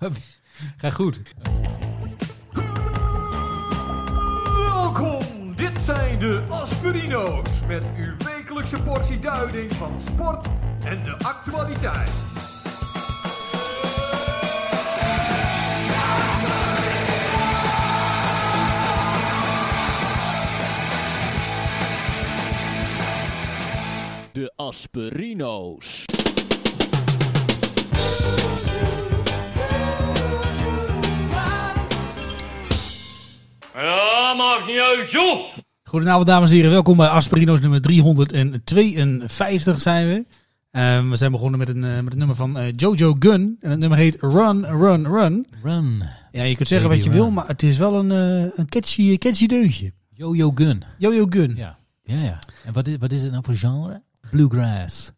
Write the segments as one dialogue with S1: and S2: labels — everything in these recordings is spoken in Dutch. S1: Ga goed.
S2: Welkom, dit zijn de Aspirino's met uw wekelijkse portie duiding van sport en de actualiteit.
S3: De Asperino's. Ja, maakt niet uit, joh!
S4: Goedenavond dames en heren, welkom bij Asperino's nummer 352 zijn we. Ehm, we zijn begonnen met een, eh, met een nummer van eh, Jojo Gun en het nummer heet Run, Run, Run.
S1: Run.
S4: Ja, je kunt zeggen
S1: Baby
S4: wat je wil,
S1: run.
S4: maar het is wel een, eh, een catchy, catchy deuntje.
S1: Yo-Yo Gun.
S4: Jojo Gun.
S1: Ja. Ja, ja. En wat is, wat is het nou voor genre? Bluegrass.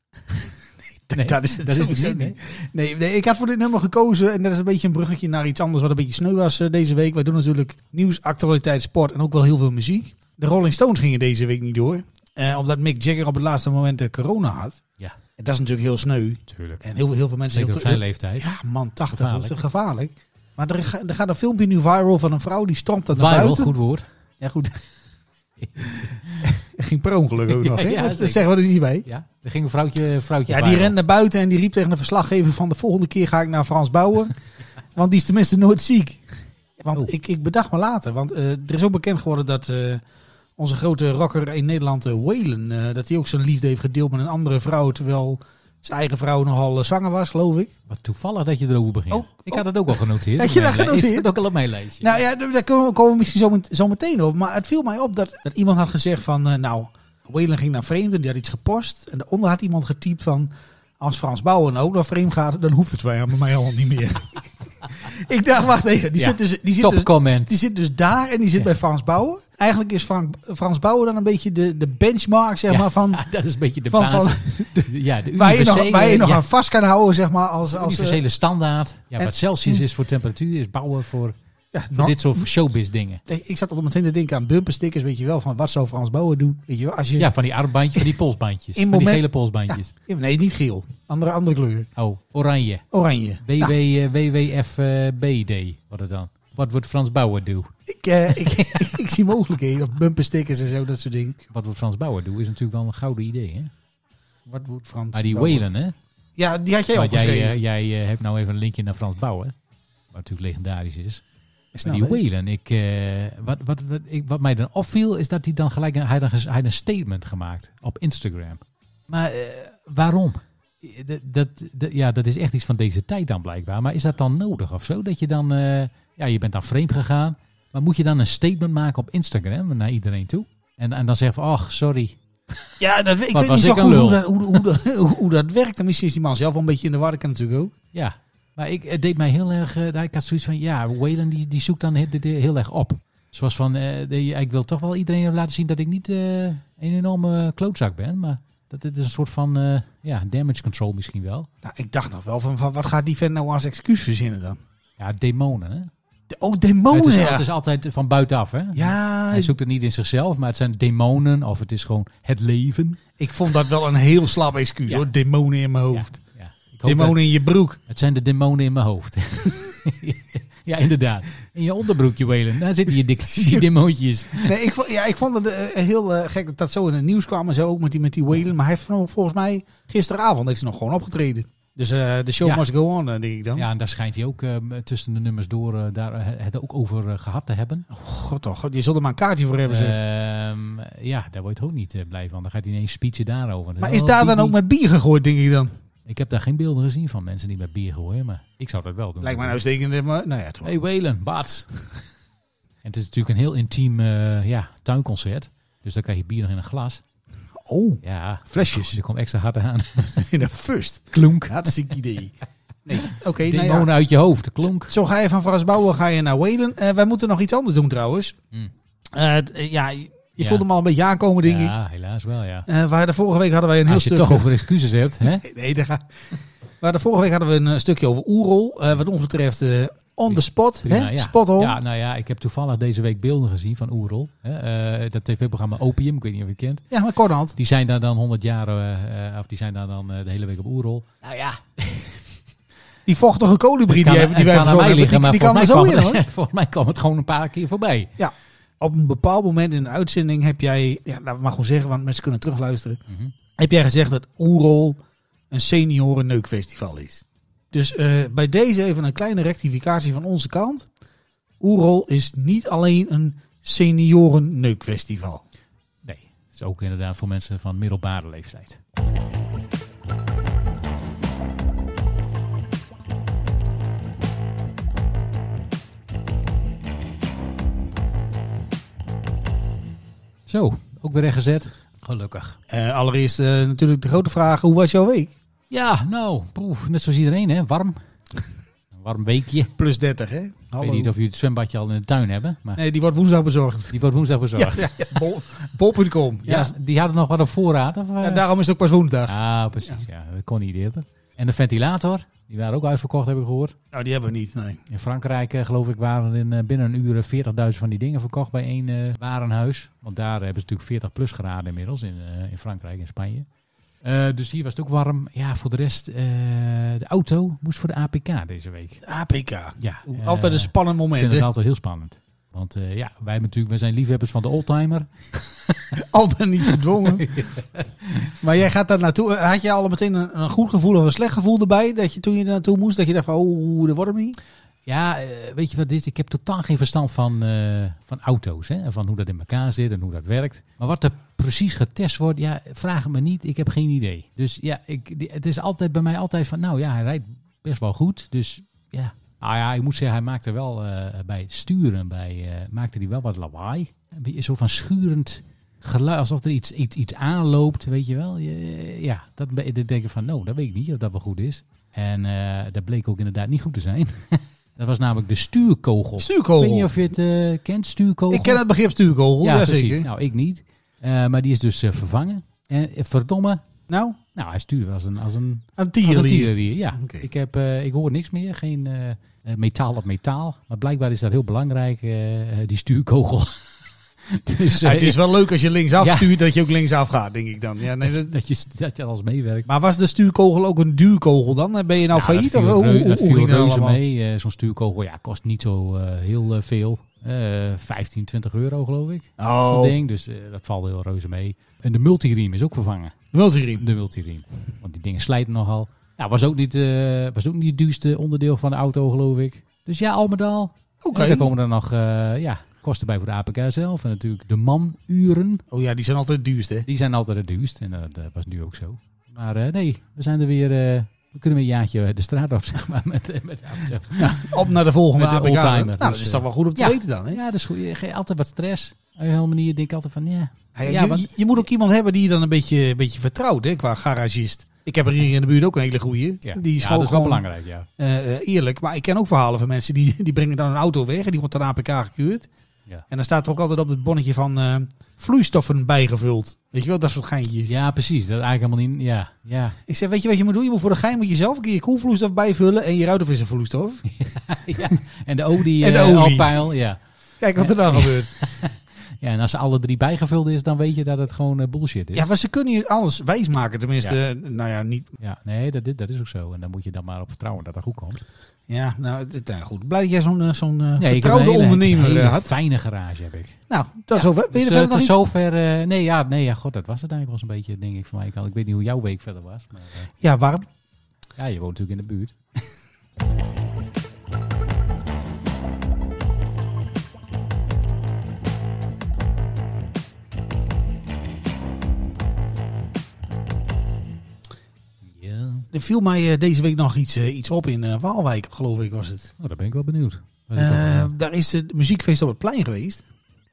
S1: Nee,
S4: dat is het sowieso
S1: niet,
S4: niet. Nee, nee, ik had voor dit nummer gekozen en dat is een beetje een bruggetje naar iets anders wat een beetje sneu was eh, deze week. Wij doen natuurlijk nieuws, actualiteit, sport en ook wel heel veel muziek. De Rolling Stones gingen deze week niet door, eh, omdat Mick Jagger op het laatste moment eh, corona had.
S1: Ja.
S4: En dat is natuurlijk heel sneu.
S1: Tuurlijk.
S4: En heel, veel- heel veel mensen...
S1: Zeker
S4: heel
S1: op
S4: te-
S1: zijn leeftijd.
S4: Ja, man, 80.
S1: Gevaarlijk.
S4: Dat is gevaarlijk. Maar er, ga- er gaat een filmpje nu viral van een vrouw die stroomt dat naar
S1: Viral,
S4: buiten.
S1: goed woord.
S4: Ja, goed. Het ging per ongeluk ook
S1: Ja,
S4: nog, hè?
S1: ja,
S4: dat
S1: zeker.
S4: zeggen we er niet bij.
S1: Ja. Er ging een vrouwtje, vrouwtje
S4: Ja, die
S1: viral.
S4: rent naar buiten en die riep tegen de verslaggever van de volgende keer ga ik naar Frans Bouwen. want die is tenminste nooit ziek. Want
S1: Oh.
S4: ik, ik bedacht me later, want eh, er is ook bekend geworden dat eh, onze grote rocker in Nederland, eh, Waylon, eh, dat hij ook zijn liefde heeft gedeeld met een andere vrouw, terwijl zijn eigen vrouw nogal eh, zwanger was, geloof ik.
S1: Wat toevallig dat je erover begint.
S4: Oh,
S1: ik had het ook al genoteerd.
S4: Had
S1: op
S4: je
S1: mijn
S4: dat
S1: lijst.
S4: genoteerd?
S1: Is dat ook al op mijn lijstje?
S4: Nou ja, daar komen we, komen we misschien zo, met- zo meteen over. Maar het viel mij op dat, dat iemand had gezegd van... eh, nou, Whalen ging naar vreemden, die had iets gepost. En daaronder had iemand getypt van... Als Frans Bouwen nou ook naar vreemd gaat, dan hoeft het bij mij al niet meer. ik dacht, wacht even. Die,
S1: Ja,
S4: zit dus, die, zit
S1: Top
S4: dus,
S1: comment.
S4: die zit dus daar en die zit
S1: Ja.
S4: bij Frans Bouwen. Eigenlijk is Frank, Frans Bouwen dan een beetje de, de benchmark, zeg
S1: Ja.
S4: maar, van...
S1: Ah, dat is een beetje de
S4: Van- van-
S1: basis. ja, de
S4: Waar je, nog,
S1: universele-
S4: waar je nog
S1: ja,
S4: aan vast kan houden, zeg maar, als... als eh,
S1: universele standaard. Ja,
S4: en-
S1: wat Celsius is voor temperatuur, is bouwen voor,
S4: ja,
S1: voor
S4: nog-
S1: dit soort showbiz dingen.
S4: ik zat al meteen te denken aan bumperstickers, weet je wel, van wat zou Frans Bouwen doen? Weet je wel, als je...
S1: Ja, van die armbandjes, van die polsbandjes.
S4: In
S1: van
S4: moment-
S1: die gele polsbandjes.
S4: Ja, Nee, niet geel. Andere, andere kleur.
S1: Oh, oranje.
S4: Oranje.
S1: WW, eh, WWFBD, wat het dan? Wat wordt Frans Bauer doen?
S4: Ik, eh, ik, ik zie mogelijkheden. Of bumperstickers en zo, dat soort dingen.
S1: Wat wordt Frans Bauer doen is natuurlijk wel een gouden idee, hè?
S4: Wat wordt Frans?
S1: Maar die
S4: Bauer?
S1: Whalen, hè?
S4: Ja, die had jij
S1: Want jij,
S4: opgeschreven.
S1: eh, jij eh, hebt nou even een linkje naar Frans Bauer, wat natuurlijk legendarisch is.
S4: Snap,
S1: Maar die
S4: hè?
S1: Whalen, ik, eh, wat, wat, wat, ik, wat mij dan opviel, is dat hij dan gelijk een, hij dan, hij had een statement gemaakt op Instagram. Maar eh, waarom? Eh, Dat, dat, dat- ja, dat is echt iets van deze tijd dan blijkbaar. Maar is dat dan nodig of zo? Dat je dan, eh, ja, je bent dan vreemd gegaan. Maar moet je dan een statement maken op Instagram naar iedereen toe? En, en dan zeggen van, ach, sorry.
S4: Ja, dat, ik
S1: Wat
S4: weet
S1: was
S4: niet zo
S1: ik een
S4: goed hoe
S1: lul?
S4: dat, hoe, hoe, dat- hoe, hoe dat werkt. En misschien is die man zelf wel een beetje in de war. Dat kan natuurlijk ook.
S1: Ja, maar ik, het deed mij heel erg, eh, ik had zoiets van, ja, Whalen die, die zoekt dan heel, heel erg op. Zoals van, eh, de- ja, ik wil toch wel iedereen laten zien dat ik niet eh, een enorme klootzak ben. Maar dat het is een soort van eh, ja, damage control misschien wel.
S4: Nou, ik dacht nog wel van, van wat gaat die vent nou als excuus verzinnen dan?
S1: Ja, demonen. Hè?
S4: De, oh,
S1: het, is,
S4: demonen. ja.
S1: het is altijd van buitenaf. Hè?
S4: Ja,
S1: Hij zoekt het niet in zichzelf, maar het zijn demonen of het is gewoon het leven.
S4: ik vond dat wel een heel slap excuus
S1: Ja.
S4: hoor. Demonen in mijn
S1: Ja,
S4: hoofd.
S1: ja. Ik hoop dat-
S4: demonen in je broek.
S1: het zijn de demonen in mijn hoofd. ja, inderdaad. In je onderbroekje, Whalen. Daar zitten je dikke die demoontjes.
S4: Nee, ik, vo- ja, ik vond het eh, heel eh, gek dat dat zo in het nieuws kwam. En zo ook met die, met die Whalen. Maar hij heeft vol- volgens mij gisteravond heeft hij nog gewoon opgetreden. Dus eh, de show
S1: Ja.
S4: must go on, eh, denk ik dan.
S1: Ja, en daar schijnt hij ook eh, tussen de nummers door eh, daar, eh, het ook over eh, gehad te hebben.
S4: God toch, god, je zult er maar een kaartje voor hebben. zeg.
S1: Eh, Ehm, ja, daar word je ook niet eh, blij van. Dan gaat hij ineens speechen daarover.
S4: maar
S1: Oh,
S4: is daar
S1: die-
S4: dan ook
S1: die-
S4: met bier gegooid, denk ik dan?
S1: Ik heb daar geen beelden gezien van mensen die met bier gooien, maar ik zou dat wel doen.
S4: Lijkt mij nou stekend. Maar, nou ja, toch.
S1: Hey Welen, Bats. en het is natuurlijk een heel intiem eh, ja, tuinconcert. Dus dan krijg je bier nog in een glas.
S4: Oh,
S1: Ja,
S4: flesjes
S1: er komt extra hard aan.
S4: in een fust.
S1: Klonk.
S4: Hartstikke idee. Nee, oké. nou
S1: Demonen
S4: ja.
S1: uit je hoofd, de klonk.
S4: Zo ga je van Frans Bouwen, ga je naar Whalen. Eh, wij moeten nog iets anders doen trouwens.
S1: Hmm.
S4: Eh, t- eh, ja, je
S1: Ja.
S4: voelde hem al een beetje aankomen, denk ik.
S1: ja, helaas wel, ja.
S4: Eh, we hadden- vorige week hadden wij een heel
S1: Als je
S4: stuk... eh.
S1: het toch over excuses hebt, hè?
S4: Nee, daar ga... Maar de vorige week hadden we een eh, stukje over Oerol. Eh, wat ons betreft eh, on the spot.
S1: Prima,
S4: hè?
S1: ja.
S4: Spot on.
S1: Ja, nou ja, ik heb toevallig deze week beelden gezien van Oerol. Hè, eh, dat tv-programma Opium, ik weet niet of je het kent.
S4: Ja, maar korthand.
S1: Die zijn daar dan 100 jaar, eh, eh, of die zijn daar dan eh, de hele week op Oerol. Nou ja,
S4: Die vochtige kolibrie
S1: kan-
S4: die, even- die wij
S1: kan aan
S4: verzonnen
S1: mij
S4: hebben, die,
S1: liggen, maar
S4: die kan er zo
S1: volgens
S4: in
S1: mij kwam
S4: hoor.
S1: het- Volgens mij kwam het gewoon een paar keer voorbij.
S4: Op een bepaald moment in een uitzending heb jij, ja, laten we maar gewoon zeggen, want mensen kunnen terugluisteren.
S1: Mhm.
S4: Heb jij gezegd dat Oerol een senioren neukfestival is. Dus eh, bij deze even een kleine rectificatie van onze kant. Oerol is niet alleen een senioren neukfestival.
S1: Nee, het is ook inderdaad voor mensen van middelbare leeftijd. Zo, ook weer rechtgezet. Gelukkig.
S4: Eh, allereerst eh, natuurlijk de grote vraag, hoe was jouw week?
S1: Ja, nou, poeh, net zoals iedereen, hè? Warm. Een warm weekje. Ik
S4: Plus 30 hè? Hallo.
S1: weet niet of jullie het zwembadje al in de tuin hebben, maar
S4: Nee, die wordt woensdag bezorgd.
S1: die wordt woensdag bezorgd. Ja,
S4: Ja, ja, bol- Bol.com. Ja.
S1: die hadden nog wat op voorraad. Of, eh?
S4: Ja, daarom is het ook pas woensdag.
S1: Ah, precies. Ja. dat kon niet eerder. En de ventilator, die waren ook uitverkocht, heb ik gehoord.
S4: Nou, die hebben we niet. Nee.
S1: In Frankrijk, eh, geloof ik, waren in, eh, binnen een uur eh, 40.000 van die dingen verkocht bij één eh, warenhuis. Want daar hebben ze natuurlijk 40 plus graden inmiddels in, eh, in Frankrijk en Spanje. Eh, dus hier was het ook warm. Ja, voor de rest, eh, de auto moest voor de APK deze week.
S4: APK.
S1: Ja, eh,
S4: Altijd een spannend
S1: Ik
S4: moment.
S1: vind het
S4: hè?
S1: altijd heel spannend. Want eh, ja, wij, hebben natuurlijk, wij zijn liefhebbers van de oldtimer.
S4: Altijd niet gedwongen. maar jij gaat daar naartoe. Eh, Had je al meteen een, een goed gevoel of een slecht gevoel erbij? Dat je toen je er naartoe moest, dat je dacht van, oh, dat wordt hem niet.
S1: Ja, eh, weet je wat dit is? Ik heb totaal geen verstand van, eh, van auto's. Hè? en Van hoe dat in elkaar zit en hoe dat werkt. Maar wat er precies getest wordt, ja, vraag het me niet. Ik heb geen idee. Dus ja, ik, die- het is altijd bij mij altijd van, nou ja, hij rijdt best wel goed. Dus ja. Ah ja, ik moet zeggen, hij maakte wel eh, bij het sturen, bij, eh, maakte hij wel wat lawaai. Een beetje zo van schurend geluid, alsof er iets, iets, iets aanloopt, weet je wel. Je- Ja, dat, be- dat denk ik van, nou, dat weet ik niet of dat wel goed is. En eh, dat bleek ook inderdaad niet goed te zijn. Dat was namelijk de stuurkogel. Ik weet niet
S4: Stuurkogel.
S1: of je het eh, kent, stuurkogel.
S4: Ik ken het begrip stuurkogel. Ja,
S1: precies.
S4: zeker.
S1: Nou, ik niet. Eh, maar die is dus eh, vervangen. En eh, verdomme,
S4: Nou,
S1: nou, hij stuurde als een, als een,
S4: een
S1: als een
S4: tierenlier.
S1: tierenlier. Ja,
S4: Oké.
S1: ik, heb, eh, ik hoor niks meer. Geen eh, eh, metaal op metaal. Maar blijkbaar is dat heel belangrijk, eh, eh, die stuurkogel. dus, eh,
S4: Ah, het is wel leuk als je linksaf
S1: Ja.
S4: stuurt, dat je ook linksaf gaat, denk ik dan. Ja, nee, dat-
S1: dat, je, dat je alles meewerkt.
S4: Maar was de stuurkogel ook een duurkogel dan? Ben je nou
S1: Ja,
S4: failliet?
S1: dat
S4: of
S1: viel
S4: hoe,
S1: reu-
S4: hoe-
S1: dat
S4: hoe
S1: viel
S4: ging dat
S1: reuze
S4: allemaal?
S1: mee. Eh, Zo'n stuurkogel ja, kost niet zo eh, heel eh, veel. Eh 15, 20 euro geloof ik. zo'n
S4: Oh,
S1: ding. Dus eh, dat valt heel reuze mee. En de multiriem is ook vervangen.
S4: multiriem.
S1: De multiriem. Want die dingen slijten nogal. Ja, was ook niet, eh, was ook niet het duurste onderdeel van de auto, geloof ik. Dus ja, al met al.
S4: Oké.
S1: En dan komen er nog eh, ja, kosten bij voor de APK zelf. En natuurlijk de manuren.
S4: Oh ja, die zijn altijd het duurste. hè?
S1: Die zijn altijd het duurst. En dat eh, was nu ook zo. Maar eh, nee, we zijn er weer... eh, we kunnen weer een jaartje eh, de straat op, zeg maar, met, eh, met de auto.
S4: Op naar de volgende
S1: Met de
S4: APK.
S1: oldtimer,
S4: nou,
S1: dus,
S4: dat is
S1: eh,
S4: toch wel goed om te
S1: ja.
S4: weten dan. Hè?
S1: Ja, dat is goed. Je geeft altijd wat stress. Op een hele manier denk ik altijd van, ja...
S4: Ja,
S1: Ja,
S4: je,
S1: want-
S4: je- je moet ook iemand hebben die je dan een beetje, een beetje vertrouwt hè, qua garagist. Ik heb er hier in de buurt ook een hele goeie.
S1: ja.
S4: Die is
S1: ja, dat
S4: gewoon,
S1: is wel
S4: gewoon,
S1: belangrijk, ja.
S4: eh, eh, eerlijk. Maar ik ken ook verhalen van mensen die, die brengen dan een auto weg en die wordt dan APK gekuurd.
S1: Ja.
S4: En dan staat er ook altijd op het bonnetje van eh, vloeistoffen bijgevuld. Weet je wel, dat soort geintjes.
S1: Ja, precies. Dat is eigenlijk helemaal niet... Ja, ja.
S4: Ik zeg, weet je wat je moet doen? Je moet voor de gein moet je zelf een keer je koelvloeistof bijvullen en je ruit of is een vloeistof.
S1: ja. En de Audi
S4: En de
S1: eh,
S4: Audi.
S1: Alpijl, ja.
S4: Kijk wat er dan gebeurt.
S1: ja. En als ze alle drie bijgevuld is, dan weet je dat het gewoon eh, bullshit is.
S4: Ja, maar ze kunnen je alles wijsmaken. Tenminste,
S1: Ja.
S4: eh, nou ja, niet.
S1: Ja, nee, dat, is- dat is ook zo. En dan moet je dan maar op vertrouwen dat dat goed komt.
S4: Ja, nou, het- nou goed. Blij dat jij zo'n eh, zo'n eh,
S1: Nee, ik heb
S4: vertrouwde
S1: een hele-
S4: ondernemer
S1: een hele
S4: eh, had.
S1: fijne garage heb ik.
S4: Nou, dat is zover. Wil
S1: Dus,
S4: je er
S1: eh,
S4: verder nog
S1: tot
S4: iets?
S1: zover... eh, nee, ja, nee, ja, god, dat was het eigenlijk wel eens een beetje, denk ik, voor mij. Ik weet niet hoe jouw week verder was. Maar, eh,
S4: Ja, warm.
S1: ja, je woont natuurlijk in de buurt. Ja.
S4: Er viel mij eh, deze week nog iets, eh, iets op in eh, Waalwijk, geloof ik was het.
S1: Oh, daar ben ik wel benieuwd. Wat is dat
S4: Eh,
S1: dan?
S4: daar is het muziekfeest op het plein geweest.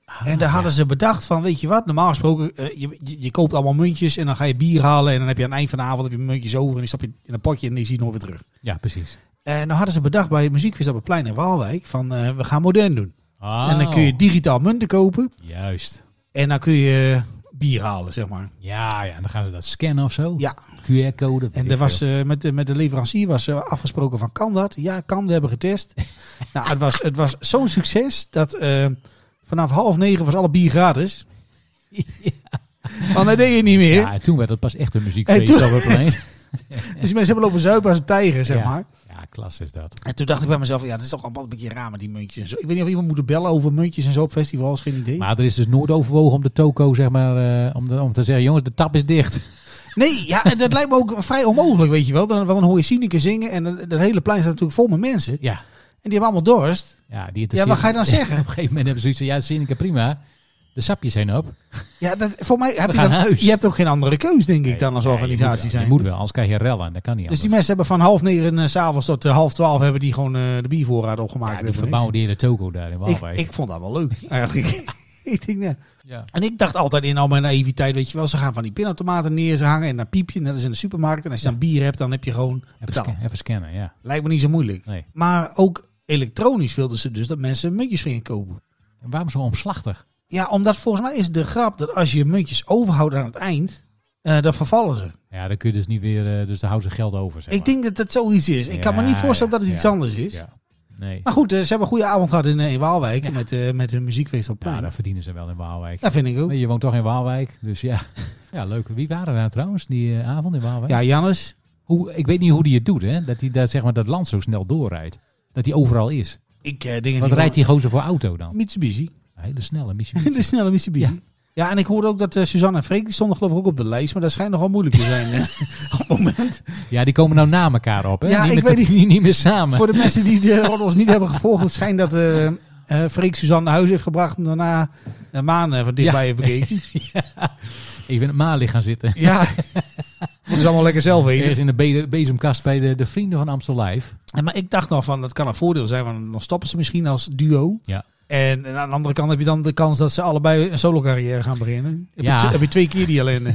S1: Ah,
S4: en daar
S1: ja.
S4: hadden ze bedacht van, weet je wat, normaal gesproken, eh, je, je, je koopt allemaal muntjes en dan ga je bier halen. En dan heb je aan het eind van de avond heb je muntjes over en die stap je in een potje en die zie je nooit weer terug.
S1: Ja, precies.
S4: En dan hadden ze bedacht bij het muziekfeest op het plein in Waalwijk van, eh, we gaan modern doen. En dan
S1: Oh.
S4: kun je digitaal munten kopen
S1: Juist.
S4: en dan kun je eh, bier halen, zeg maar.
S1: Ja, ja, dan gaan ze dat scannen of zo.
S4: Ja.
S1: QR-code. weet
S4: En
S1: ik
S4: er was,
S1: veel.
S4: eh, met, de, met de leverancier was eh, afgesproken van kan dat? Ja, kan. We hebben getest. nou, het was, het was zo'n succes dat eh, vanaf half negen was alle bier gratis. Want dat deed je niet meer.
S1: Ja, en toen werd het pas echt een
S4: En
S1: muziekfeest
S4: toen-
S1: op het plein.
S4: Dus die mensen hebben lopen zuipen als een tijger, zeg
S1: Ja.
S4: maar.
S1: Ja, klas is dat.
S4: En toen dacht ik bij mezelf, ja, dat is toch allemaal een beetje raar met die muntjes en zo. Ik weet niet of iemand moet bellen over muntjes en zo op festivals, geen idee.
S1: Maar er is dus nooit overwogen om de toko, zeg maar, eh, om, de- om te zeggen, jongens, de tap is dicht.
S4: Nee, ja, en dat lijkt me ook vrij onmogelijk, weet je wel. Dan, dan hoor je Sineke zingen en dat dat hele plein staat natuurlijk vol met mensen.
S1: Ja,
S4: En die hebben allemaal dorst.
S1: ja, die
S4: Ja, wat ga je dan
S1: interesseert-
S4: zeggen?
S1: Op een gegeven moment hebben ze zoiets van, ja, Zinneke, prima. De sapjes zijn op.
S4: Ja, dat, voor mij heb
S1: We
S4: je,
S1: gaan
S4: dan,
S1: naar huis.
S4: je hebt ook geen andere keus, denk ik, dan als
S1: Nee,
S4: organisatie
S1: je moet, wel-
S4: zijn.
S1: Je moet wel, anders krijg je rellen. Dat kan niet
S4: dus
S1: anders.
S4: die mensen hebben van half negen eh, s s'avonds tot eh, half twaalf hebben die gewoon eh, de biervoorraad opgemaakt.
S1: ja,
S4: en
S1: die
S4: voor
S1: verbouwen die hele toko daar in
S4: niks.
S1: Waalwijk.
S4: ik, ik vond dat wel leuk, eigenlijk. ik denk, ja.
S1: ja.
S4: En ik dacht altijd in al mijn naïviteit, weet je wel, ze gaan van die pinautomaten neer, ze hangen en dan piep je, net als in de supermarkt. En als je dan bier hebt, dan heb je gewoon
S1: even, scan-
S4: betaald.
S1: even scannen, ja.
S4: Lijkt me niet zo moeilijk.
S1: Nee.
S4: Maar ook elektronisch wilden ze dus dat mensen muntjes gingen kopen.
S1: En waarom zo omslachtig?
S4: Ja, omdat volgens mij is de grap dat als je muntjes overhoudt aan het eind, eh, dan vervallen ze.
S1: Ja, dan kun je dus niet weer, eh, dus daar houden ze geld over, zeg
S4: Ik
S1: maar.
S4: denk dat dat zoiets is. Ik kan me
S1: Ja,
S4: niet voorstellen
S1: ja,
S4: dat het iets
S1: ja,
S4: anders is.
S1: Ja. Nee,
S4: Maar goed, eh, ze hebben een goede avond gehad in, eh, in Waalwijk
S1: Ja.
S4: met, eh, met hun muziekfeest op
S1: ja,
S4: plein.
S1: dat verdienen ze wel in Waalwijk.
S4: dat vind ik ook.
S1: Nee, Je woont toch in Waalwijk, dus ja. Ja, leuk. Wie waren daar trouwens die eh, avond in Waalwijk?
S4: Ja, Jannes.
S1: Hoe, ik weet niet hoe die het doet, hè? Dat hij daar, zeg maar, dat land zo snel doorrijdt. Dat hij overal is.
S4: Ik eh, denk dat
S1: Wat
S4: hij
S1: rijdt
S4: gewoon-
S1: die gozer voor auto dan?
S4: Mitsubishi.
S1: Een hele snelle Mitsubishi.
S4: De snelle Mitsubishi. Ja. en ik hoorde ook dat eh, Suzanne en Freek, die stonden geloof ik ook op de lijst, maar dat schijnt nogal moeilijk te zijn eh, op het moment.
S1: Ja, die komen nou na elkaar op, hè?
S4: Ja,
S1: niet
S4: ik
S1: meer,
S4: weet
S1: niet, niet meer samen.
S4: Voor de mensen die de roddels niet hebben gevolgd, het schijnt dat eh eh, Freek Suzanne naar huis heeft gebracht en daarna de maan eh, van dichtbij heeft bekeken.
S1: Ik ben het maar liggen gaan zitten.
S4: Ja, moeten ze allemaal lekker zelf
S1: Er is
S4: weten.
S1: in de be- bezemkast bij de, de vrienden van Amstel Live.
S4: En, maar ik dacht nog van, dat kan een voordeel zijn, want dan stoppen ze misschien als duo.
S1: Ja.
S4: En, en aan de andere kant heb je dan de kans dat ze allebei een solo carrière gaan beginnen. Heb,
S1: Ja.
S4: je, tw- heb je twee keer die alleen. eh,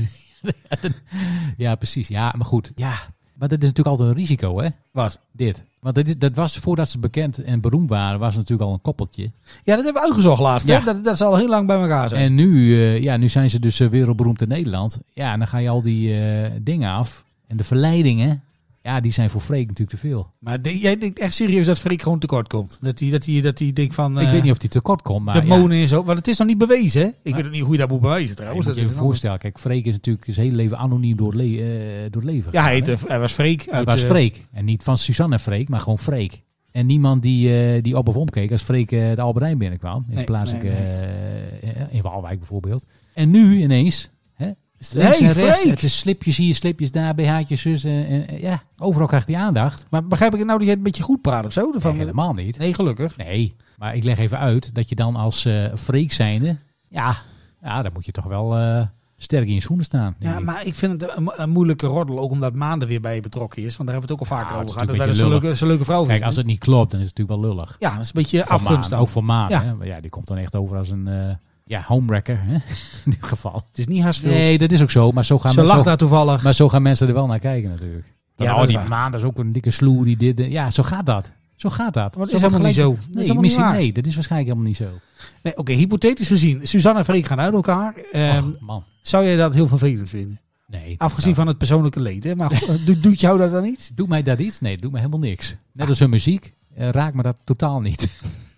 S1: Ja, precies. Ja, maar goed. Ja, maar dat is natuurlijk altijd een risico, hè?
S4: Wat?
S1: Dit. Want dat, is, dat was voordat ze bekend en beroemd waren, was het natuurlijk al een koppeltje.
S4: Ja, dat hebben we uitgezocht laatst. hè?
S1: Ja.
S4: Dat, dat ze al heel lang bij elkaar zijn.
S1: En nu, eh, ja, nu zijn ze dus eh, wereldberoemd in Nederland. Ja, en dan ga je al die eh, dingen af. En de verleidingen, ja, die zijn voor Freek natuurlijk te veel.
S4: Maar de- jij denkt echt serieus dat Freek gewoon tekort komt? Dat hij dat die, dat die denkt van
S1: ik
S4: eh,
S1: weet niet of die tekort komt, maar
S4: de
S1: ja,
S4: monen en zo. Want het is nog niet bewezen, hè? Ik weet ook niet hoe je dat moet bewijzen
S1: je
S4: trouwens.
S1: moet je je
S4: dat is een ander-
S1: voorstellen. Kijk, Freek is natuurlijk zijn hele leven anoniem door, het le- eh, door het leven
S4: Ja,
S1: gegaan,
S4: hij,
S1: hè?
S4: heette- hij was Freek.
S1: Het
S4: uit,
S1: was
S4: eh,
S1: Freek. En niet van Suzanne en Freek, maar gewoon Freek. En niemand die, eh, die op of omkeek als Freek eh, de Alberijn binnenkwam. In
S4: Nee,
S1: de plaatselijke,
S4: nee,
S1: eh, in Waalwijk bijvoorbeeld. En nu ineens, hè, links
S4: Hey,
S1: en rechts,
S4: Freek!
S1: het is slipjes hier, slipjes daar, BH'tjes zus. eh, en, eh, ja, overal krijgt hij aandacht.
S4: Maar begrijp ik het nou dat jij het een beetje goed praat of zo?
S1: Nee,
S4: Van,
S1: helemaal niet.
S4: nee, gelukkig.
S1: Nee, maar ik leg even uit dat je dan als eh Freek zijnde, ja, ja, dan moet je toch wel eh, sterk in je schoenen staan. denk
S4: Ja,
S1: ik.
S4: maar ik vind het een, een moeilijke roddel, ook omdat Maanden weer bij je betrokken is. Want daar hebben we het ook al vaker
S1: Ja,
S4: over
S1: het is
S4: gehad. Dat wij
S1: natuurlijk
S4: dat
S1: een beetje
S4: zo'n leuke, zo'n leuke vrouw
S1: Kijk,
S4: vinden.
S1: als het niet klopt, dan is het natuurlijk wel lullig.
S4: Ja, dat is een beetje
S1: Voor
S4: afgunst
S1: Maan,
S4: dan.
S1: Ook voor Maan.
S4: Ja.
S1: Ja. Hè? Maar ja, die komt dan echt over als een eh ja, homewrecker hè? in dit geval.
S4: Het is niet haar schuld.
S1: Nee, dat is ook zo. Maar zo gaan,
S4: Ze
S1: men-
S4: lacht
S1: zo,
S4: daar toevallig.
S1: maar zo gaan mensen er wel naar kijken natuurlijk.
S4: Ja,
S1: Ja,
S4: dat
S1: oh,
S4: is
S1: die
S4: waar.
S1: Maan, dat is ook een dikke sloer. Die dit, eh, ja, zo gaat dat. Zo gaat dat.
S4: Maar dat
S1: Zo
S4: is
S1: wordt
S4: helemaal niet zo.
S1: gelijk-
S4: Dat is
S1: Nee,
S4: helemaal niet
S1: misschien,
S4: waar.
S1: nee, dat is waarschijnlijk helemaal niet zo.
S4: Nee, Oké, hypothetisch gezien. Suzanne en Freek gaan uit elkaar. Ehm,
S1: Och, man.
S4: Zou jij dat heel vervelend vinden?
S1: Nee.
S4: Afgezien
S1: dat-
S4: van het persoonlijke leed, hè? Maar goed, doet- doet jou dat dan niet?
S1: Doet mij dat iets? Nee, dat doet me helemaal niks. Net als hun muziek. eh, raakt me dat totaal niet.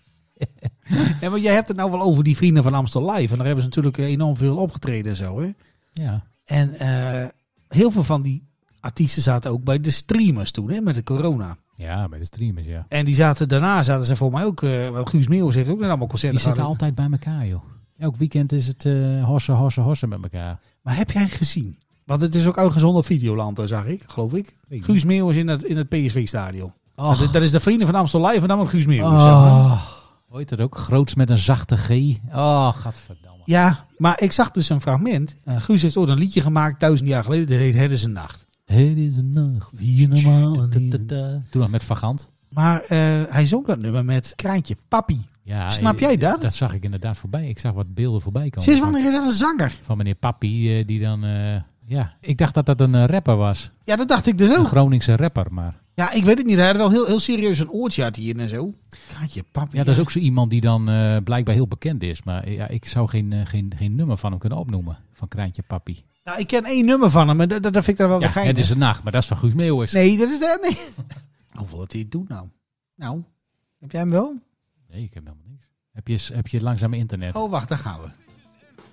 S4: Ja, maar jij hebt het nou wel over die vrienden van Amstel Live. En daar hebben ze natuurlijk eh, enorm veel opgetreden en zo. Hè?
S1: Ja,
S4: En eh, heel veel van die artiesten zaten ook bij de streamers toen, hè, met de corona.
S1: ja bij de streamers, ja.
S4: En die zaten, daarna zaten ze voor mij ook... eh, want Guus Meeuwis heeft ook net allemaal
S1: Die
S4: concerten
S1: zitten
S4: gehad.
S1: altijd bij elkaar, joh. Elk weekend is het eh hossen, hossen, hossen met elkaar.
S4: Maar heb jij gezien? Want het is ook uitgezonden op Videoland, eh, zag ik, geloof ik.
S1: Weet ik
S4: Guus Meeuwis in het, in het PSV-stadion.
S1: Och.
S4: Dat, dat is de vrienden van Amstel Live en dan met Guus Meeuwis. zeg maar.
S1: Oh, hoe heet dat ook? Groots met een zachte G. Oh, gadverdamme.
S4: Ja, maar ik zag dus een fragment. Eh, Guus heeft ooit een liedje gemaakt, duizend jaar geleden. Dat heet Het is een nacht.
S1: Het is een nacht.
S4: Hier normaal en hier-
S1: Da-da-da. Toen nog met Vagant.
S4: Maar eh, hij zong dat nummer met Kraantje Papi.
S1: Ja,
S4: Snap
S1: eh,
S4: jij dat?
S1: Dat zag ik inderdaad voorbij. Ik zag wat beelden voorbij komen.
S4: Sinds
S1: Van,
S4: wanneer is dat een zanger?
S1: van meneer Papi, eh, die dan... eh, ja, ik dacht dat dat een eh, rapper was.
S4: Ja, dat dacht ik dus
S1: Een
S4: ook.
S1: Groningse rapper, maar...
S4: Ja, ik weet het niet. Hij had wel heel, heel serieus een oortje had hier en zo. Kraantje Papi.
S1: Ja, dat is ook zo iemand die dan eh, blijkbaar heel bekend is. Maar eh, ja, ik zou geen, eh, geen, geen nummer van hem kunnen opnoemen. Van Kraantje Papi.
S4: Nou, ik ken één nummer van hem, maar dat, dat vind ik dan wel
S1: Ja,
S4: weer
S1: het Oh, is
S4: geinig.
S1: een nacht, maar dat is van Guus Meeuwis.
S4: Nee, dat is dat niet. Hoeveel dat hij doet nou? Nou, heb jij hem wel?
S1: Nee, ik heb helemaal niks. Heb je, heb je langzaam internet?
S4: Oh, wacht, daar Oh, gaan we.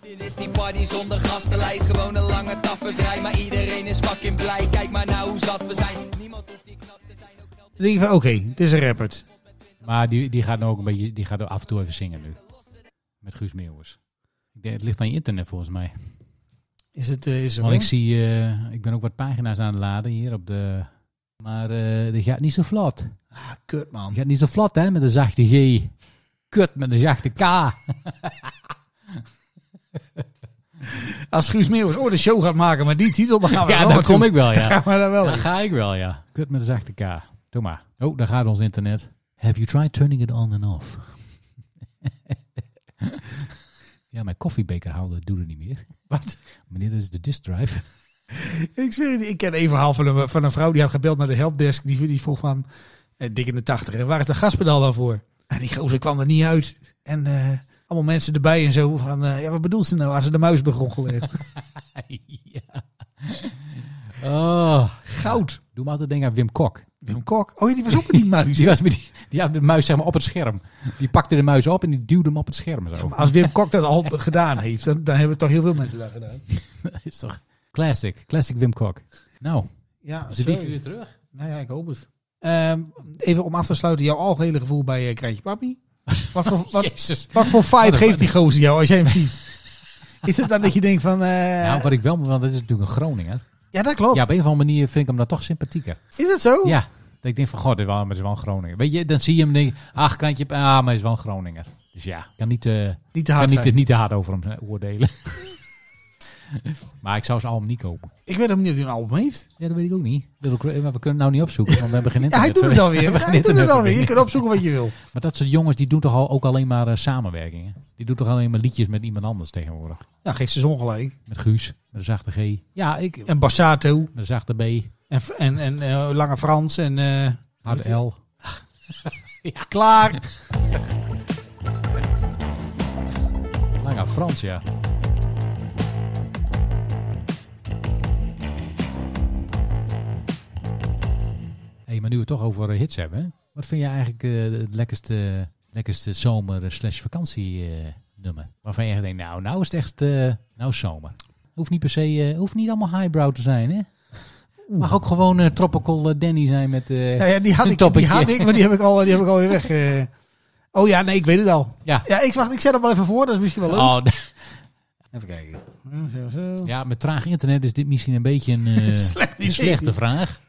S5: Dit is die party zonder gastenlijst, gewoon een lange tafersrij. Maar iedereen is fucking blij, kijk maar nou hoe zat we zijn. Niemand hoeft die knap te zijn, ook geld
S4: Dan denk je van, oké, het is een rapper.
S1: Maar die, die gaat nou ook een beetje, die gaat ook af en toe even zingen nu. Met Guus Meeuwers. Ik denk, Het ligt aan je internet volgens mij.
S4: Is het, eh, is het
S1: Want ik
S4: wel?
S1: zie, eh, ik ben ook wat pagina's aan het laden hier op de... Maar eh die gaat niet zo vlot.
S4: Ah, kut, man.
S1: Die gaat niet zo vlot hè, met een zachte G. Kut, met een zachte K.
S4: Als Guus Meeuwis ooit een show gaat maken met die titel, dan gaan we
S1: Ja,
S4: daar wel
S1: daar kom
S4: naartoe.
S1: ik wel, ja.
S4: Dan gaan we daar wel
S1: Daar ga ik wel, ja. Kut met een zachte K. Doe maar. Oh, daar gaat ons internet. Have you tried turning it on and off? ja, mijn koffiebekerhouder doet het niet meer.
S4: Wat?
S1: Meneer, dit is de disk drive.
S4: Ik zweer het, ik ken één verhaal van een, van een vrouw die had gebeld naar de helpdesk. Die, die vroeg van, eh, dik in de tachtig, en waar is de gaspedaal dan voor? En die gozer kwam er niet uit. En eh, allemaal mensen erbij en zo van, eh, ja, wat bedoelt ze nou als ze de muis begonnen heeft?
S1: ja. Oh,
S4: Goud.
S1: doe me altijd denken aan Wim Kok.
S4: Wim Kok. Oh ja, die was ook met die muis.
S1: Die, was met die, die had de muis zeg maar, op het scherm. Die pakte de muis op en die duwde hem op het scherm. Zo.
S4: Maar Als Wim Kok dat al gedaan heeft, dan, dan hebben toch heel veel mensen dat gedaan.
S1: Dat is toch classic. Classic Wim Kok. Nou,
S4: Ja,
S1: ze wiegen weer terug.
S4: Nou ja, ik hoop het. Ehm, even om af te sluiten, jouw algehele gevoel bij eh Kraantje Papi. Wat voor, wat,
S1: Jezus. Oh,
S4: wat voor vibe
S1: een-
S4: geeft die gozer jou als jij hem ziet? Is het dan dat je denkt van... eh,
S1: Nou, wat ik wel, want dat is natuurlijk een Groninger.
S4: ja, dat klopt.
S1: Ja, op een of andere manier vind ik hem dan toch sympathieker.
S4: Is dat zo?
S1: Ja, dat ik denk van, god, dit wel- maar het is wel een Groninger. Weet je, dan zie je hem en denk je, ach, kleintje, ah, maar hij is wel een Groninger. Dus ja, ik kan niet, eh,
S4: Niet te
S1: kan
S4: hard
S1: niet,
S4: zijn.
S1: niet te hard over hem eh, oordelen. maar ik zou ze allemaal niet kopen.
S4: Ik weet hem niet of hij een album heeft.
S1: Ja, dat weet ik ook niet. Little Cra- maar we kunnen het nou niet opzoeken, want we hebben geen
S4: Ja,
S1: internet.
S4: hij doet het
S1: We
S4: alweer.
S1: hebben geen
S4: Hij doet het alweer. Je
S1: internetverbinding.
S4: kunt opzoeken wat je wil.
S1: Maar dat soort jongens, die doen toch al, ook alleen maar eh, samenwerkingen? Die doen toch alleen maar liedjes met iemand anders tegenwoordig?
S4: Nou, geeft ze zon gelijk.
S1: Met Guus, met een zachte G. Ja, ik, met
S4: En Bassato.
S1: een zachte B.
S4: En, en, en eh, Lange Frans. En eh,
S1: Hard L.
S4: klaar.
S1: Lange Frans, ja. hey, maar nu we het toch over eh, hits hebben. hè? Wat vind je eigenlijk eh, het lekkerste, lekkerste zomer- slash vakantienummer? Waarvan je echt denkt, nou, nou is het echt, eh, nou is zomer. Hoeft niet per se, eh, hoeft niet allemaal highbrow te zijn, hè? Mag ook gewoon eh, Tropical eh, Danny zijn met... eh,
S4: Nou ja, die had,
S1: Een
S4: ik, die
S1: toppetje.
S4: had ik, maar die heb ik al, die heb ik al weer weg. eh. Oh ja, nee, ik weet het al.
S1: ja.
S4: Ja, ik, wacht, ik zet hem wel even voor. Dat is misschien wel leuk.
S1: Oh,
S4: Even kijken. Zo, zo, zo.
S1: ja, met traag internet is dit misschien een beetje een, eh,
S4: Slecht
S1: een
S4: idee.
S1: slechte vraag.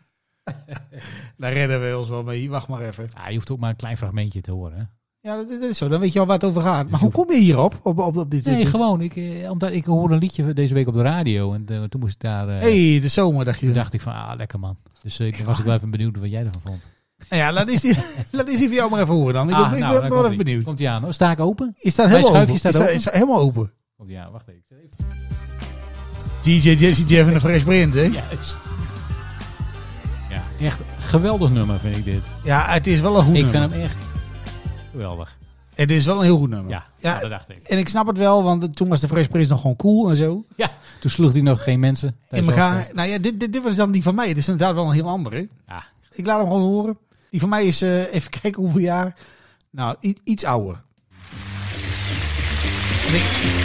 S4: Daar redden we ons wel mee. Wacht maar even.
S1: Ja, je hoeft ook maar een klein fragmentje te horen. Hè?
S4: Ja, dat, dat is zo. Dan weet je al waar het over gaat. Maar hoe kom je hierop? Op, op, op dit,
S1: Nee,
S4: dit-
S1: gewoon. Ik, eh, omdat ik hoorde een liedje deze week op de radio. En eh, toen moest ik daar. eh,
S4: hey, de zomer, dacht je.
S1: Toen dacht ik van, ah, lekker man. Dus eh, ik was ik wel even benieuwd wat jij ervan vond.
S4: Nou ja, laat eens, die, laat eens die voor jou maar even horen dan. Ik ben,
S1: Ah,
S4: ik
S1: nou,
S4: ben
S1: daar
S4: wel
S1: komt-ie.
S4: even benieuwd.
S1: Komt hij aan? hoor. Sta ik open?
S4: Is dat
S1: Mijn
S4: helemaal open?
S1: schuifje staat
S4: is, dat,
S1: open.
S4: is dat helemaal open?
S1: Komt hij aan? Wacht even. Ik zet even.
S4: DJ Jesse Jeff en de Fresh Print, hè? Ja.
S1: Juist. Ja, echt geweldig nummer vind ik dit.
S4: het is wel een goed
S1: ik
S4: nummer.
S1: vind hem echt geweldig.
S4: Het is wel een heel goed nummer.
S1: Ja,
S4: Ja.
S1: ja, dat dacht ik.
S4: En ik snap het wel, want toen was de Fresh Prince nog gewoon cool en zo.
S1: Ja, toen sloeg hij nog geen mensen.
S4: In
S1: tijdens
S4: elkaar.
S1: Elftal.
S4: Nou ja, dit, dit, dit was dan die van mij. Het is inderdaad wel een heel andere.
S1: Ja,
S4: Ik laat hem gewoon horen. Die van mij is, eh, even kijken hoeveel jaar. Nou, i- iets ouder. En ik-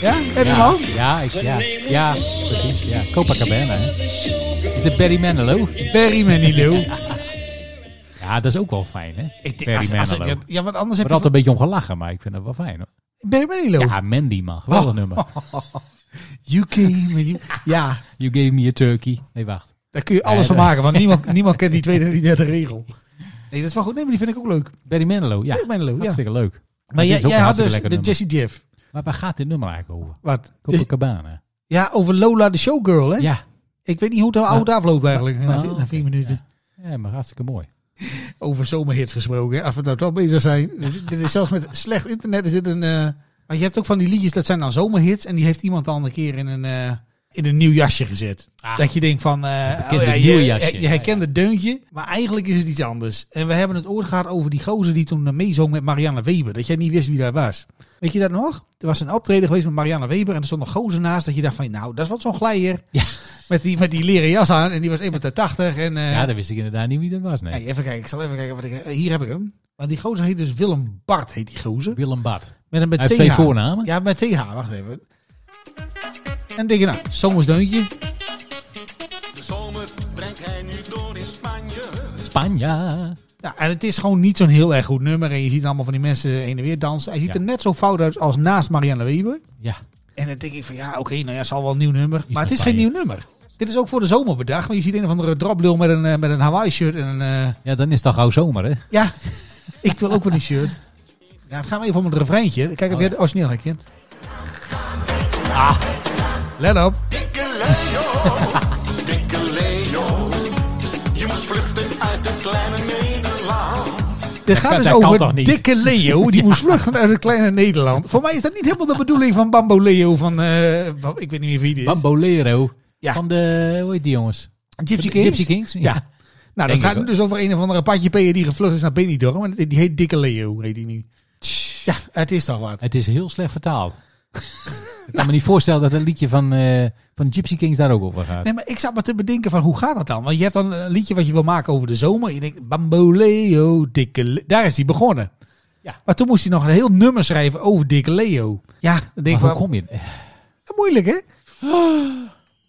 S4: Ja, heb je hem
S1: ja,
S4: al?
S1: ja, ik, ja, ja, precies. Ja. Copacabana. Hè. Is het Barry Manilow?
S4: Barry Manilow.
S1: Ja, dat is ook wel fijn, hè?
S4: Ik denk,
S1: Barry
S4: als- als-
S1: Manilow.
S4: ja, want
S1: Ik heb
S4: anders heb je...
S1: er altijd een beetje om gelachen, maar ik vind dat wel fijn. Hoor.
S4: van- Barry Manilow.
S1: Ja, Mandy man, geweldig
S4: Oh.
S1: nummer.
S4: You came and you- Ja,
S1: You gave me a turkey. Nee, wacht.
S4: daar kun je alles
S1: Nee,
S4: van
S1: dat-
S4: maken, want niemand, niemand kent die tweede en die derde regel. Nee, dat is wel goed. Nee, maar die vind ik ook leuk.
S1: Barry Manilow, ja.
S4: Barry Manilow, ja.
S1: Hartstikke leuk.
S4: Maar
S1: dit
S4: jij,
S1: is ook
S4: jij
S1: een
S4: had
S1: hartstikke
S4: dus
S1: lekker
S4: de
S1: nummer.
S4: Jesse Jeff.
S1: Maar waar gaat dit nummer eigenlijk over?
S4: Wat? Dus-
S1: Copacabana.
S4: Ja, over Lola de Showgirl, hè?
S1: Ja.
S4: Ik weet niet hoe het oud afloopt eigenlijk. Na,
S1: nou,
S4: vier- na vier
S1: oké,
S4: minuten.
S1: ja, maar hartstikke mooi.
S4: Over zomerhits gesproken. hè. Als we nou toch bezig zijn. dit dit is zelfs met slecht internet is dit een... eh, Maar je hebt ook van die liedjes, dat zijn dan zomerhits. En die heeft iemand dan een keer in een, eh, in een nieuw jasje gezet.
S1: Ah.
S4: Dat je denkt van... eh,
S1: bekende
S4: je,
S1: nieuw jasje.
S4: Je,
S1: Ja,
S4: herkent
S1: ja.
S4: het deuntje, maar eigenlijk is het iets anders. En we hebben het ooit gehad over die gozer die toen eh, meezong met Marianne Weber. Dat jij niet wist wie dat was. Weet je dat nog? Er was een optreden geweest met Marianne Weber. En er stond een gozer naast dat je dacht van... Nou, dat is wel zo'n glijer.
S1: Ja.
S4: Met, die, met die leren jas aan. En die was 1,80 meter. En, eh,
S1: Ja, dat wist ik inderdaad niet wie dat was, nee.
S4: Hey, even kijken, ik zal even kijken wat ik. eh, Hier heb ik hem. Maar die gozer heet dus Willem Bart, heet die gozer.
S1: Willem Bart.
S4: Met een met
S1: Hij heeft
S4: TH.
S1: twee voornamen.
S4: Ja, met TH, wacht even. En denk je nou, zomersdeuntje.
S6: De zomer brengt hij nu door in Spanje.
S1: Spanja.
S4: Ja, en het is gewoon niet zo'n heel erg goed nummer. En je ziet allemaal van die mensen heen en weer dansen. Hij ziet
S1: Ja.
S4: er net zo fout uit als naast Marianne Weber.
S1: Ja.
S4: En dan denk ik van ja, oké, nou ja, zal wel een nieuw nummer.
S1: Is
S4: maar het is
S1: van je.
S4: geen nieuw nummer. Dit is ook voor de zomer bedacht. Want je ziet een of andere droplul met een, eh, met een Hawaii shirt en een... eh,
S1: ja, dan is het al gauw zomer, hè?
S4: ja, ik wil ook wel een shirt. Ja, dan gaan we even om het refreintje. Kijk of
S1: Oh,
S4: jij
S1: ja.
S4: het origineel herkent. Ah, let op.
S6: Dikke Leo, dikke Leo. Je moest vluchten uit het kleine Nederland.
S4: Dit gaat
S1: kan-
S4: dus
S1: dat kan
S4: over
S1: toch niet?
S4: dikke Leo. Die moest vluchten uit het kleine Nederland. Voor mij is dat niet helemaal de bedoeling van Bambo Leo van... eh, van- ik weet niet meer wie die is.
S1: Bambolero.
S4: Ja.
S1: Van de, hoe heet die jongens?
S4: Gypsy Kings?
S1: Gypsy Kings,
S4: Ja.
S1: ja.
S4: Nou,
S1: Denk
S4: dat gaat
S1: ik
S4: nu
S1: wel.
S4: dus over een of andere patje die gevlucht is naar Benidorm. Maar die die heet Dikke Leo, heet die nu. Ja, het is toch wat.
S1: Het is heel slecht vertaald. ik kan me niet voorstellen dat een liedje van, eh, van Gypsy Kings daar ook over gaat.
S4: Nee, maar ik zat me te bedenken van hoe gaat dat dan? Want je hebt dan een liedje wat je wil maken over de zomer. Je denkt, Bambo Leo, Dikke Leo. Daar is die begonnen.
S1: Ja.
S4: Maar toen moest hij nog een heel nummer schrijven over Dikke Leo. Ja, dan denk
S1: maar
S4: ik
S1: hoe
S4: wel,
S1: kom je? eh,
S4: moeilijk hè?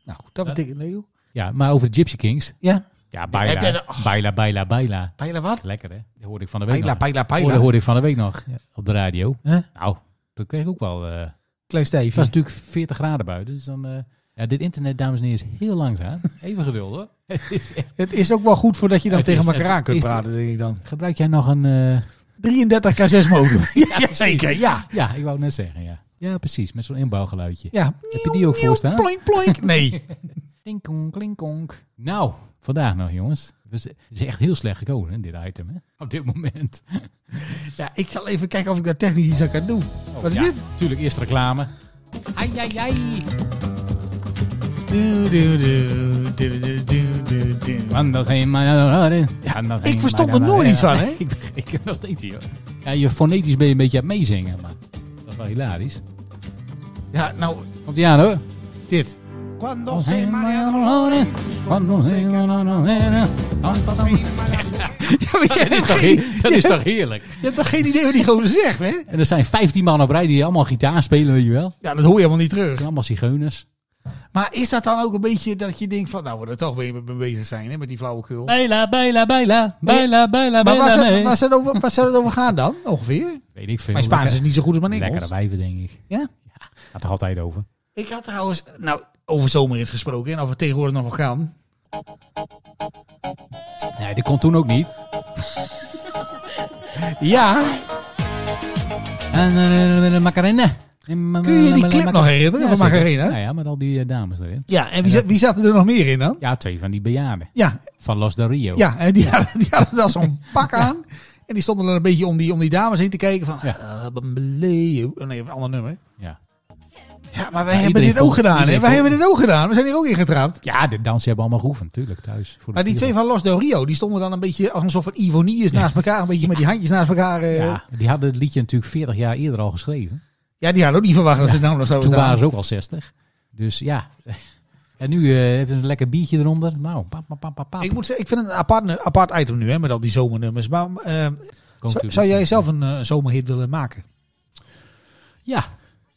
S4: Nou, dat was Dikke Leo.
S1: Ja, maar over de Gypsy Kings.
S4: Ja.
S1: Ja,
S4: heb jij
S1: baila,
S4: dat- oh.
S1: baila, baila, baila.
S4: Pijla wat?
S1: Lekker, hè? Dat hoorde ik van de week
S4: Pijla,
S1: nog.
S4: pijla,
S1: Oh, dat
S4: pijla.
S1: hoorde ik van de week nog ja, op de radio.
S4: Huh?
S1: Nou, dat kreeg ik ook wel... eh,
S4: Klein
S1: Het was
S4: Steven.
S1: natuurlijk 40 graden buiten, dus dan... eh, ja, dit internet, dames en heren, is heel langzaam. Even geduld, hoor. Het is echt-
S4: Het is ook wel goed voordat je dan
S1: Het
S4: tegen
S1: is-
S4: elkaar
S1: het
S4: aan kunt
S1: is-
S4: praten, denk ik dan.
S1: Gebruik jij nog een... eh,
S4: 33 K6 modem. ja,
S1: precies.
S4: zeker, ja.
S1: Ja, ik wou net zeggen, ja. Ja, precies, met zo'n inbouwgeluidje.
S4: ja.
S1: Heb je die ook voor staan?
S4: Ploink, ploink. Nee.
S1: Klinkong, klinkong. Nou, vandaag nog, jongens. Dus Het is echt heel slecht gekozen, hè, dit item, hè? Op dit moment.
S4: Ja, ik zal even kijken of ik daar technisch iets aan kan doen. Oh, Wat is
S1: ja,
S4: dit?
S1: Tuurlijk, eerst reclame. Ai, ai, ai.
S4: Du, du, du, du, du, du, du, du.
S1: Want dat geen maar- Want dat
S4: ik
S1: geen
S4: verstond
S1: maar-
S4: er nooit iets van, hè?
S1: Ik, ik heb nog steeds hier. Ja, je fonetisch ben je een beetje aan het meezingen, maar dat is wel hilarisch.
S4: Ja, nou,
S1: Komt ie aan, hoor.
S4: dit.
S1: Als hij maar verloren, want dan zijn we nog een heren. Want dat dan-
S4: Ja, maar jij
S1: Dat is
S4: hebt
S1: toch
S4: geen-
S1: heer- Dat is toch heerlijk?
S4: Je hebt toch geen idee wat die gozer zegt, hè?
S1: En er zijn 15 man op rij die allemaal gitaar spelen, weet je wel. Het
S4: Ja, dat hoor je helemaal niet terug.
S1: zijn allemaal zigeuners.
S4: Maar is dat dan ook een beetje dat je denkt van... Nou, we er toch mee mee bezig zijn, hè? Met die flauwekul.
S1: Bijla, bijla, bijla, bijla, bijla,
S4: Maar waar
S1: bijla,
S4: zou,
S1: nee.
S4: waar, zou het over, waar zou het over gaan dan, ongeveer?
S1: Weet ik veel.
S4: Mijn Spaans is
S1: Lekker-
S4: niet zo goed als mijn Engels.
S1: Lekkere wijven, denk ik.
S4: Ja?
S1: Gaat toch altijd over?
S4: Ik had trouwens, nou, over zomer is gesproken en of het tegenwoordig nog wel gaan.
S1: Nee, dat kon toen ook niet.
S4: Ja,
S1: En eh, eh, Macarena. eh,
S4: kun je die clip nog herinneren van Macarena?
S1: Ja, ja, met al die eh, dames erin.
S4: Ja, en wie, zat, wie zaten er nog meer in dan?
S1: Ja, twee van die bejaarden.
S4: Ja,
S1: Van Los de Rio.
S4: ja en die hadden, die hadden dan zo'n pak aan. En die stonden er een beetje om die, om die dames heen te kijken van...
S1: Ja.
S4: eh, Bambaleo. Oh, nee, een ander nummer.
S1: Ja,
S4: Ja, maar wij
S1: Ja,
S4: hebben
S1: iedereen
S4: dit ook
S1: vond-
S4: gedaan, hè?
S1: iedereen
S4: Wij
S1: vond-
S4: hebben dit ook gedaan. We zijn hier ook in getrapt.
S1: ja de dansen hebben allemaal geoefend, natuurlijk, thuis. Voor de
S4: Maar die twee
S1: spiegel.
S4: van Los Del Rio, die stonden dan een beetje als een soort van Ivoniers naast elkaar. Een beetje met die handjes naast elkaar. eh. Ja.
S1: Ja, die hadden het liedje natuurlijk 40 jaar eerder al geschreven.
S4: die hadden ook niet verwacht dat ze nou nog zouden
S1: Toen
S4: staan.
S1: waren ze ook al 60. Dus ja. En nu eh hebben ze een lekker biertje eronder. Nou, pap, pap, pap, pap, pap.
S4: Ik moet zeggen, ik vind het een apart, nu- apart item nu, hè, met al die zomernummers. Maar eh,
S1: Komt
S4: zou,
S1: natuurlijk
S4: zou jij
S1: niet.
S4: zelf een eh, zomerhit willen maken?
S1: Ja.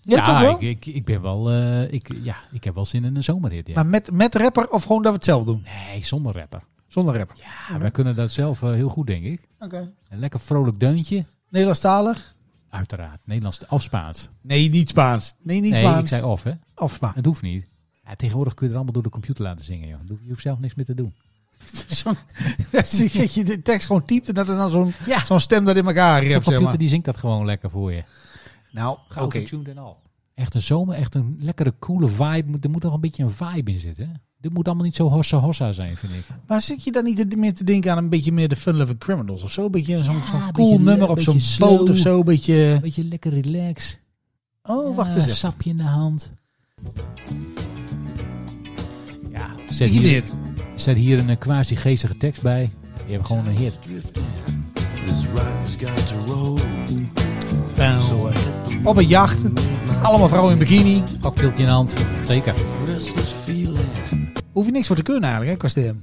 S4: Ja, toch wel?
S1: Ik, ik, ik ben wel... eh, ik, ja, ik heb wel zin in een zomerrit, ja.
S4: Maar met, met rapper of gewoon dat we het zelf doen?
S1: Nee, zonder rapper.
S4: Zonder rapper.
S1: Ja, wij kunnen dat zelf eh, heel goed, denk ik.
S4: Oké.
S1: Een lekker vrolijk deuntje.
S4: Nederlandstalig?
S1: Uiteraard. Nederlands of Spaans.
S4: Nee, niet Spaans. Nee, niet
S1: nee,
S4: Spaans.
S1: ik zei of, hè.
S4: Of Spaans.
S1: Het hoeft niet. Ja, tegenwoordig kun je er allemaal door de computer laten zingen, joh. Je hoeft zelf niks meer te doen.
S4: Zo'n- dat je de tekst gewoon typt en dat er dan zo'n
S1: Ja.
S4: zo'n stem dat in elkaar
S1: Zo'n
S4: rept, zeg
S1: computer
S4: maar.
S1: die zingt dat gewoon lekker voor je.
S4: Nou, oké.
S1: Autotuned en al. Echt een zomer, echt een lekkere, coole vibe. Moet- Er moet toch een beetje een vibe in zitten. hè? Dit moet allemaal niet zo hossa hossa zijn, vind ik.
S4: Maar zit je dan niet te- meer te denken aan een beetje meer de Fun Loving Criminals of zo? Een beetje zo'n zo'n
S1: een
S4: cool
S1: beetje
S4: nummer
S1: leuk,
S4: op
S1: beetje
S4: zo'n boot
S1: slow.
S4: of zo. Een beetje...
S1: Beetje lekker relax.
S4: Oh,
S1: Ja,
S4: wacht eens
S1: Een
S4: even.
S1: sapje in de hand. Ja, zet
S4: Zie je
S1: hier,
S4: dit?
S1: zet hier een eh, quasi-geestige tekst bij. Je hebt gewoon een hit.
S6: This rock's got to roll.
S4: Op een jacht. Allemaal vrouwen in bikini.
S1: Cocktailtje in de hand. Zeker.
S6: Restless feeling.
S4: Hoef je niks voor te kunnen eigenlijk, hè, Kastem?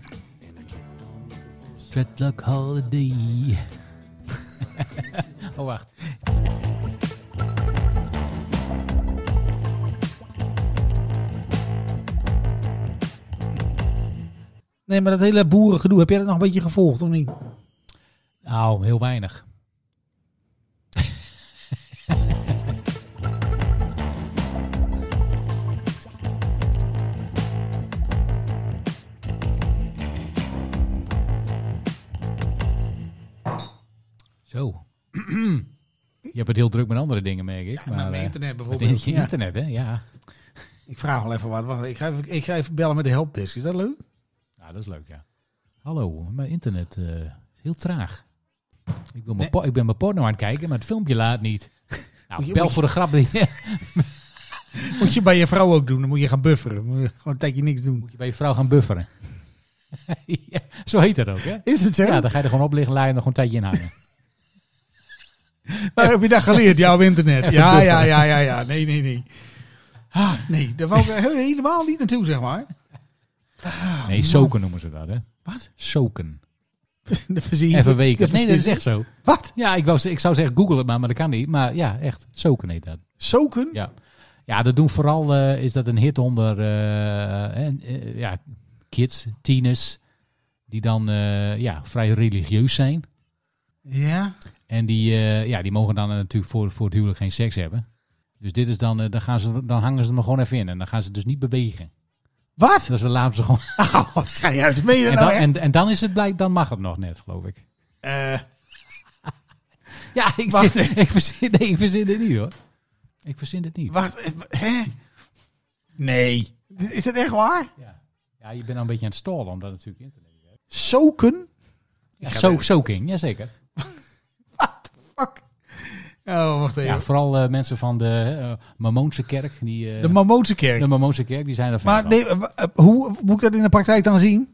S1: Dreadlock Holiday. Oh, wacht.
S4: Nee, maar dat hele boerengedoe, heb jij dat nog een beetje gevolgd of niet?
S1: Nou, heel weinig. Zo. Je hebt het heel druk met andere dingen, merk ik. maar, eh,
S4: internet
S1: met je internet, hè? Ja.
S4: Ik vraag wel even wat. Wacht, ik, ga even, ik ga even bellen met de helpdesk. Is dat leuk?
S1: Ja, dat is leuk, ja. Hallo, mijn internet eh, is heel traag. Ik, wil mijn po- ik ben mijn porno aan het kijken, maar het filmpje laat niet.
S4: Moet
S1: Nou,
S4: je-
S1: bel
S4: moet
S1: voor de grap. Moet
S4: Moet je bij je vrouw ook doen. Dan moet je gaan bufferen. Moet je gewoon een tijdje niks doen.
S1: je bij je vrouw gaan bufferen. ja, zo heet dat ook, hè?
S4: Is het zo?
S1: Ja, dan ga je er gewoon op liggen, laat je er nog gewoon een tijdje in hangen.
S4: Waar heb je dat geleerd? Ja, op internet.
S1: Even
S4: Ja, ja,
S1: bufferen.
S4: ja, ja, ja. Nee, nee, nee. Ah, nee, daar wou ik he- helemaal niet naartoe, zeg maar.
S1: Nee, soken noemen ze dat, hè?
S4: Wat?
S1: Soken.
S4: De verzie-
S1: Even
S4: de
S1: weken. Nee,
S4: verzie-
S1: dat is echt zo.
S4: Wat?
S1: Ja, ik, wou, ze- ik zou zeggen, google het maar, maar dat kan niet. Maar ja, echt, soken heet dat.
S4: Soken?
S1: Ja, ja dat doen vooral, eh, is dat een hit onder eh, en, eh, ja, kids, tieners, die dan eh, ja, vrij religieus zijn.
S4: Ja.
S1: En die, eh, ja, die mogen dan eh, natuurlijk voor, voor het huwelijk geen seks hebben. Dus dit is dan, eh, dan, gaan ze, dan hangen ze er maar gewoon even in. En dan gaan ze dus niet bewegen.
S4: Wat?
S1: Dus dan laten ze gewoon...
S4: Oh, ga je uit mee
S1: En
S4: nou
S1: dan,
S4: echt?
S1: en, en dan is het blijk, dan mag het nog net, geloof ik.
S4: Eh,
S1: Ja, ik,
S4: Wacht
S1: zit, ik, verzin, nee, ik verzin dit niet hoor. Ik verzin dit niet.
S4: wacht, eh, hè? Nee. Is dat echt waar?
S1: Ja. ja, je bent al een beetje aan het stallen, omdat het natuurlijk internet is.
S4: Soken?
S1: Ja, so, soaking, jazeker.
S4: What the fuck? Oh, wacht even.
S1: Ja, vooral eh, mensen van de eh, Mamoonse kerk. Die, eh,
S4: de Mamootse kerk.
S1: de Mamoonse kerk, die zijn er fan
S4: maar
S1: van.
S4: nee, eh, w- eh, hoe moet ik dat in de praktijk dan zien?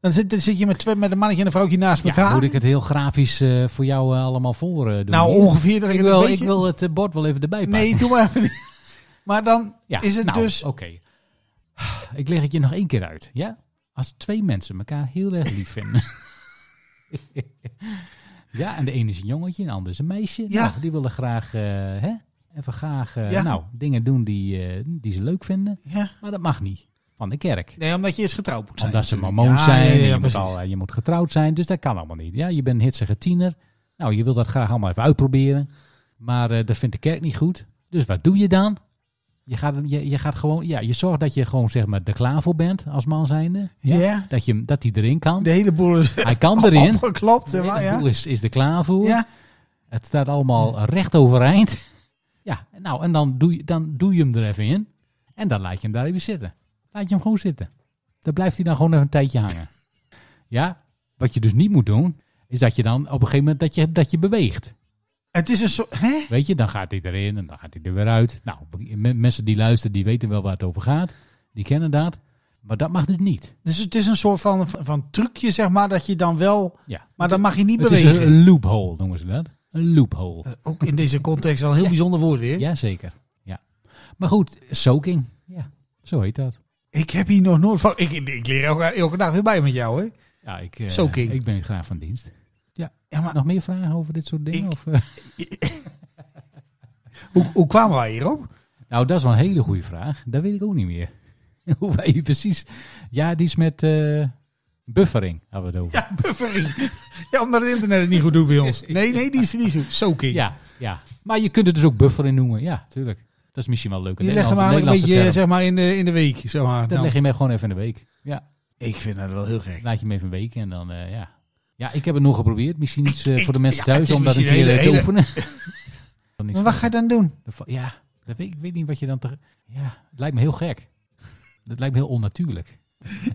S4: Dan zit, dan zit je met, twee, met een mannetje en een vrouwtje naast
S1: ja,
S4: elkaar.
S1: moet ik het heel grafisch eh, voor jou eh, allemaal voor eh, doen?
S4: nou,
S1: hier?
S4: ongeveer. dat
S1: ik,
S4: het een
S1: wil, ik
S4: beetje-
S1: wil het eh, bord wel even erbij pakken.
S4: Nee, doe maar even niet. Maar dan
S1: Ja,
S4: is het
S1: nou,
S4: dus...
S1: Oké. Ik leg het je nog één keer uit, ja? Als twee mensen elkaar heel erg lief vinden. ja, en de ene is een jongetje, en de ander is een meisje.
S4: Ja.
S1: Nou, die willen graag, eh, hè? Even graag, eh,
S4: Ja.
S1: nou, dingen doen die, eh, die ze leuk vinden.
S4: Ja.
S1: Maar dat mag niet. Van de kerk.
S4: Nee, omdat je eens getrouwd moet zijn.
S1: Omdat ze
S4: natuurlijk.
S1: mormoon
S4: Ja,
S1: zijn.
S4: ja,
S1: en
S4: ja,
S1: je, moet
S4: precies.
S1: al- en je moet getrouwd zijn. Dus dat kan allemaal niet. Ja, je bent een hitsige tiener. Nou, je wil dat graag allemaal even uitproberen. Maar eh, dat vindt de kerk niet goed. Dus wat doe je dan? Je gaat, je, je gaat gewoon, ja, je zorgt dat je gewoon zeg maar er klaar voor bent als man zijnde.
S4: Ja.
S1: Dat, je, dat hij erin kan.
S4: De hele boel is
S1: Hij kan erin.
S4: opgeklopt. hè,
S1: Het
S4: maar,
S1: doel
S4: ja.
S1: is, is er klaar voor.
S4: Ja.
S1: Het staat allemaal recht overeind. Ja, nou, en dan doe, je, dan doe je hem er even in. En dan laat je hem daar even zitten. Laat je hem gewoon zitten. Dan blijft hij dan gewoon even een tijdje hangen. Ja, wat je dus niet moet doen, is dat je dan op een gegeven moment dat je, dat je beweegt.
S4: Het is een soort... Hè?
S1: Weet je, dan gaat hij erin en dan gaat hij er weer uit. Nou, me- mensen die luisteren, die weten wel waar het over gaat. Die kennen dat. Maar dat mag dus niet.
S4: Dus het is een soort van, van trucje, zeg maar, dat je dan wel...
S1: Ja.
S4: Maar dan mag je niet
S1: het is
S4: bewegen. Eh,
S1: een- een loophole, noemen ze dat. Een loophole.
S4: Ook in deze context wel een heel
S1: Ja.
S4: bijzonder woord weer.
S1: Jazeker. Ja. Maar goed, soaking. Ja, zo heet dat.
S4: Ik heb hier nog nooit van... Ik, ik leer elke, elke dag weer bij met jou, hè?
S1: Ja, ik, eh,
S4: Soaking.
S1: ik ben graag van dienst.
S4: Ja, maar
S1: Nog meer vragen over dit soort dingen?
S4: Ik-
S1: Of, eh?
S4: hoe, hoe kwamen wij hierop?
S1: Nou, dat is wel een hele goede vraag. Dat weet ik ook niet meer. Hoe wij hier precies... Ja, die is met eh, buffering, hadden we het over.
S4: Ja, buffering. Ja, omdat het internet het niet goed doet bij ons. Nee, nee, die is niet zo. Soaking.
S1: ja, ja. Maar je kunt het dus ook buffering noemen. Ja, tuurlijk. Dat is misschien wel leuk.
S4: Je legt hem eigenlijk een beetje, zeg maar, in de, in de week, zeg maar. nou.
S1: Dat
S4: Dan-
S1: leg je mij gewoon even in de week. Ja,
S4: Ik vind dat wel heel gek.
S1: laat je hem even een week en dan, eh, ja. Ja, ik heb het nog geprobeerd. Misschien iets eh,
S4: ik-
S1: voor de mensen
S4: ja, het
S1: thuis
S4: is
S1: om dat een
S4: misschien
S1: keer
S4: een
S1: eh, te
S4: hele-
S1: oefenen. Dan is
S4: Maar
S1: het-
S4: wat ga je dan doen?
S1: Dat va- Ja, dat weet, ik weet niet wat je dan te. Ja, het lijkt me heel gek. Het lijkt me heel onnatuurlijk.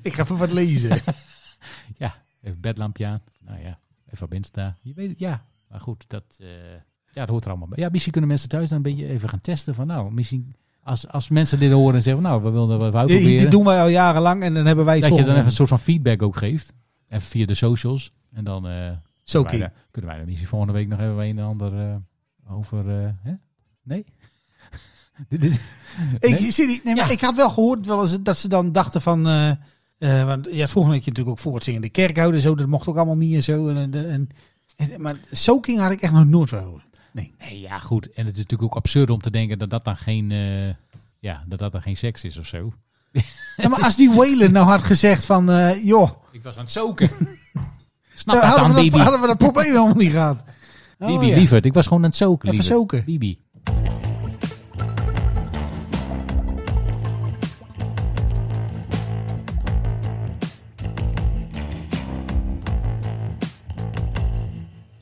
S4: Ik ga even wat lezen.
S1: Ja, even bedlampje aan. Nou ja, even op Insta. Je weet het, ja. Maar goed, dat, eh, ja, dat hoort er allemaal bij. Ja, misschien kunnen mensen thuis dan een beetje even gaan testen van nou, misschien als, als mensen dit horen en zeggen van, nou, we willen dat wel
S4: Dit,
S1: proberen.
S4: dit doen wij al jarenlang en dan hebben wij
S1: dat je
S4: zorgen.
S1: dan even een soort van feedback ook geeft. Even via de socials. En dan eh, kunnen, wij
S4: Soaking.
S1: daar- kunnen wij dan misschien volgende week nog even een en ander eh, over... eh, hè? Nee? Dit is-
S4: Ik,
S1: Nee?
S4: zie die- nee, maar
S1: Ja.
S4: ik had wel gehoord wel eens dat ze dan dachten van... eh, eh, want ja, vroeger had je natuurlijk ook voor het zingen in de kerk houden. en Zo, dat mocht ook allemaal niet en zo. En, en, en- en- maar soaking had ik echt nog nooit wel gehoord. Nee.
S1: Nee, ja, goed. En het is natuurlijk ook absurd om te denken dat dat dan geen, eh, ja, dat dat dan geen seks is of zo.
S4: Ja, maar als die Whalen nou had gezegd van, eh, joh,
S1: Ik was aan het zoeken. Snap
S4: dan
S1: dat Nou, dan,
S4: hadden, we
S1: Bibi?
S4: dat, hadden we dat probleem helemaal niet gehad. Oh,
S1: Bibi,
S4: ja.
S1: lieverd. Ik was gewoon aan het zoeken,
S4: Even
S1: lieverd.
S4: zoeken.
S1: Bibi.